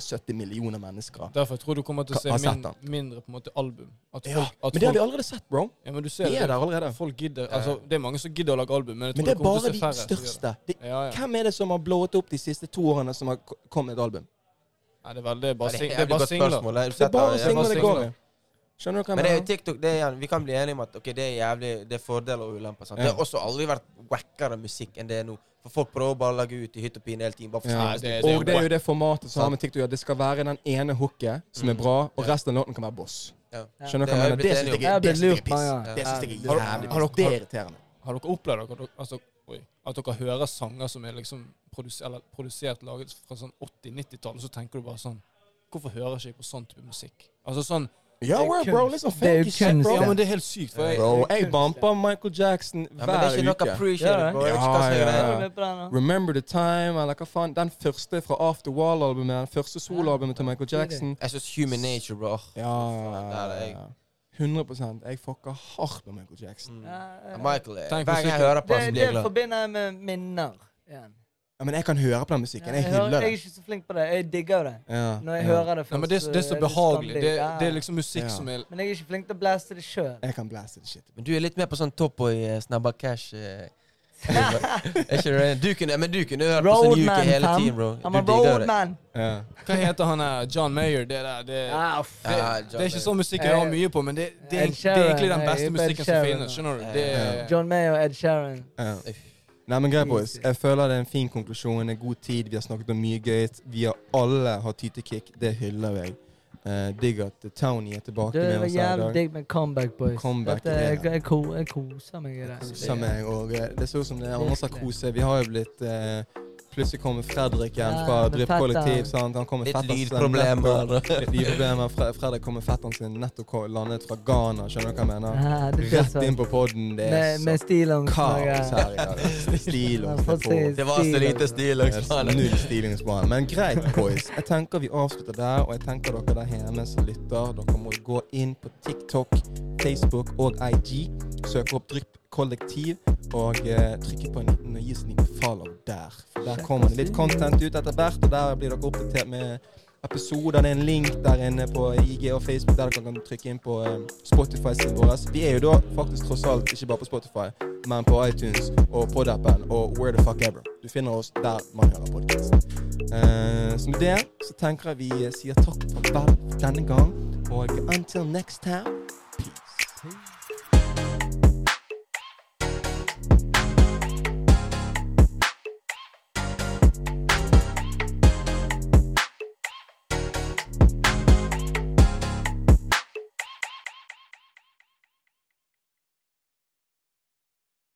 77 millioner mennesker. Derfor tror jeg du kommer til å se Har sett min, den. mindre på en måte album. At Ja, folk, at Men det har folk, vi allerede sett, bro. ja, men du ser De er det. der allerede. Folk gidder, altså, det er mange som gidder å lage album, men jeg Men tror det det er kommer til bare å se de færre. som gjør det. største. Det, Ja, ja. hvem er det som har blowet opp de siste to årene som har k- kommet med et album? Nei, det er vel, det er bare, Ja, sing, et det er jævlig bare godt singler. spørsmål. Har du Det sett er bare det? singler singler det singler. går i. Skjønner du hva Men det er jo jeg mener? TikTok, det er, igjen- vi kan bli enige om at ok, det er jævlig, det er fordeler og ulemper. sant? Det Ja. har også aldri vært wackere musikk enn det er nå. For folk prøver bare å lage ut i hytt og pine hele tiden. bare for Ja. å Nei, stikke det, Og det er jo jo det formatet som har med TikTok å gjøre. Det skal være den ene hooket som Mm. er bra, og resten av låten kan være boss. Ja. Skjønner du Det har hva jeg jeg mener? blitt Det synes enig jeg om. er- det synes jeg er Jeg blir lurt, ja, piss. ja. Det synes jeg Har er du- jævlig har piss. dere- Det er irriterende. Har dere opplevd at dere, altså, oi, at dere hører sanger som er liksom produs, eller produsert laget fra sånn 80-90-tallet, så tenker du bare sånn Hvorfor hører ikke jeg på sånn type musikk? Altså sånn Det Ja, er we're- bro, kunst. liksom Det er funky shit, kunst, bro. Ja, men det er helt sykt, for jeg Bro, Det er jeg kunst, bampa Michael Jackson Ja, men det er hver ikke noe uke. appreciated, Ja, bro. Jeg vet ikke ja, hva som er ja. greia. Er du med på den, da? Remember the Time, eller hva faen. Den første fra After Wall-albumet. Den første soloalbumet til Michael Jackson. Jeg synes human nature, bro. Åh, Ja, der er ja, jeg. ja. 100 Jeg fucker hardt med Michael Jackson. Mm. Ja, ja. Michael, eh, Tenk hver gang jeg hører på ham, Det, blir jeg det glad. forbinder jeg med minner. igjen. Ja, men jeg kan høre på den Ja, musikken. Jeg hører- hyller Jeg er det. ikke så flink på det. Jeg digger jo det. Ja, Når jeg ja. hører det først. Nei, men det, er- det er så eh, behagelig. Det, skamlig. Ja. det er liksom musikk Ja. som er Men jeg er ikke flink til å blaste det sjøl. Jeg kan blaste det shit. Men du er litt mer på sånn Topboy eh, Snabba Cash. eh, er ikke det? Du kunne, men du kunne hørt på sånn Yuki Roadman, hele fam. tiden, bro. I'm Du a digger det. roadman. Ja. Hva heter han der? John Mayer? Det der, det, Ah, f- det, Ja, det er ikke sånn musikk jeg Jeg- har mye på, men det, det, er, Ed det er egentlig den Sheeran, beste jeg- musikken Ed som Sheeran, finnes. Skjønner du? ja. Det Ja. er, John May og Ed Sheeran. Ja. Nei, men greit, boys. Easy. Jeg føler det er en fin konklusjon. En god tid. Vi har snakket om mye gøy. Vi har alle hatt tytekick. Det hyller jeg. Eh, digg at Townie er tilbake Du, det med var oss her i jævlig dag. digg med comeback, boys. Comeback, Dette, jeg, ja. jeg, ko- jeg koser meg i det. Koser meg. Og eh, det ser ut som det er Anders har Virkelig. koset. Vi har jo blitt eh, Plutselig kommer Fredrik igjen Ja, fra med Drypp fetteren. Kollektiv. Sant? Han kommer Litt fetteren sin lydproblemer. nettopp- Litt lydproblemer. Fre Fredrik kommer fetteren sin nettopp ko- landet fra Ghana. Skjønner du hva jeg mener? Ah, det blir Rett inn sånn. på poden. Det altså. er Med, med så stillongs. kaos noe. her i dag. Det er Stil Han og har fått på. seg Det var så stil, lite altså. stil. liksom. Det er Null stilingsplan. Men greit, boys. Jeg tenker vi avslutter der. Og jeg tenker dere der hjemme som lytter, dere må gå inn på TikTok, Facebook og IG. Søke opp Drypp kollektiv og eh, trykke på en liten og gi oss en liten follow der. For der kommer det litt content ut etter hvert, og der blir dere oppdatert med episoder. Det er en link der inne på IG og Facebook der dere kan trykke inn på eh, Spotify-siden vår. Vi er jo da faktisk tross alt ikke bare på Spotify, men på iTunes og Podappen og where the fuck ever. Du finner oss der man hører podkast. Eh, så med det så tenker jeg vi eh, sier takk for vel denne gang, og until next time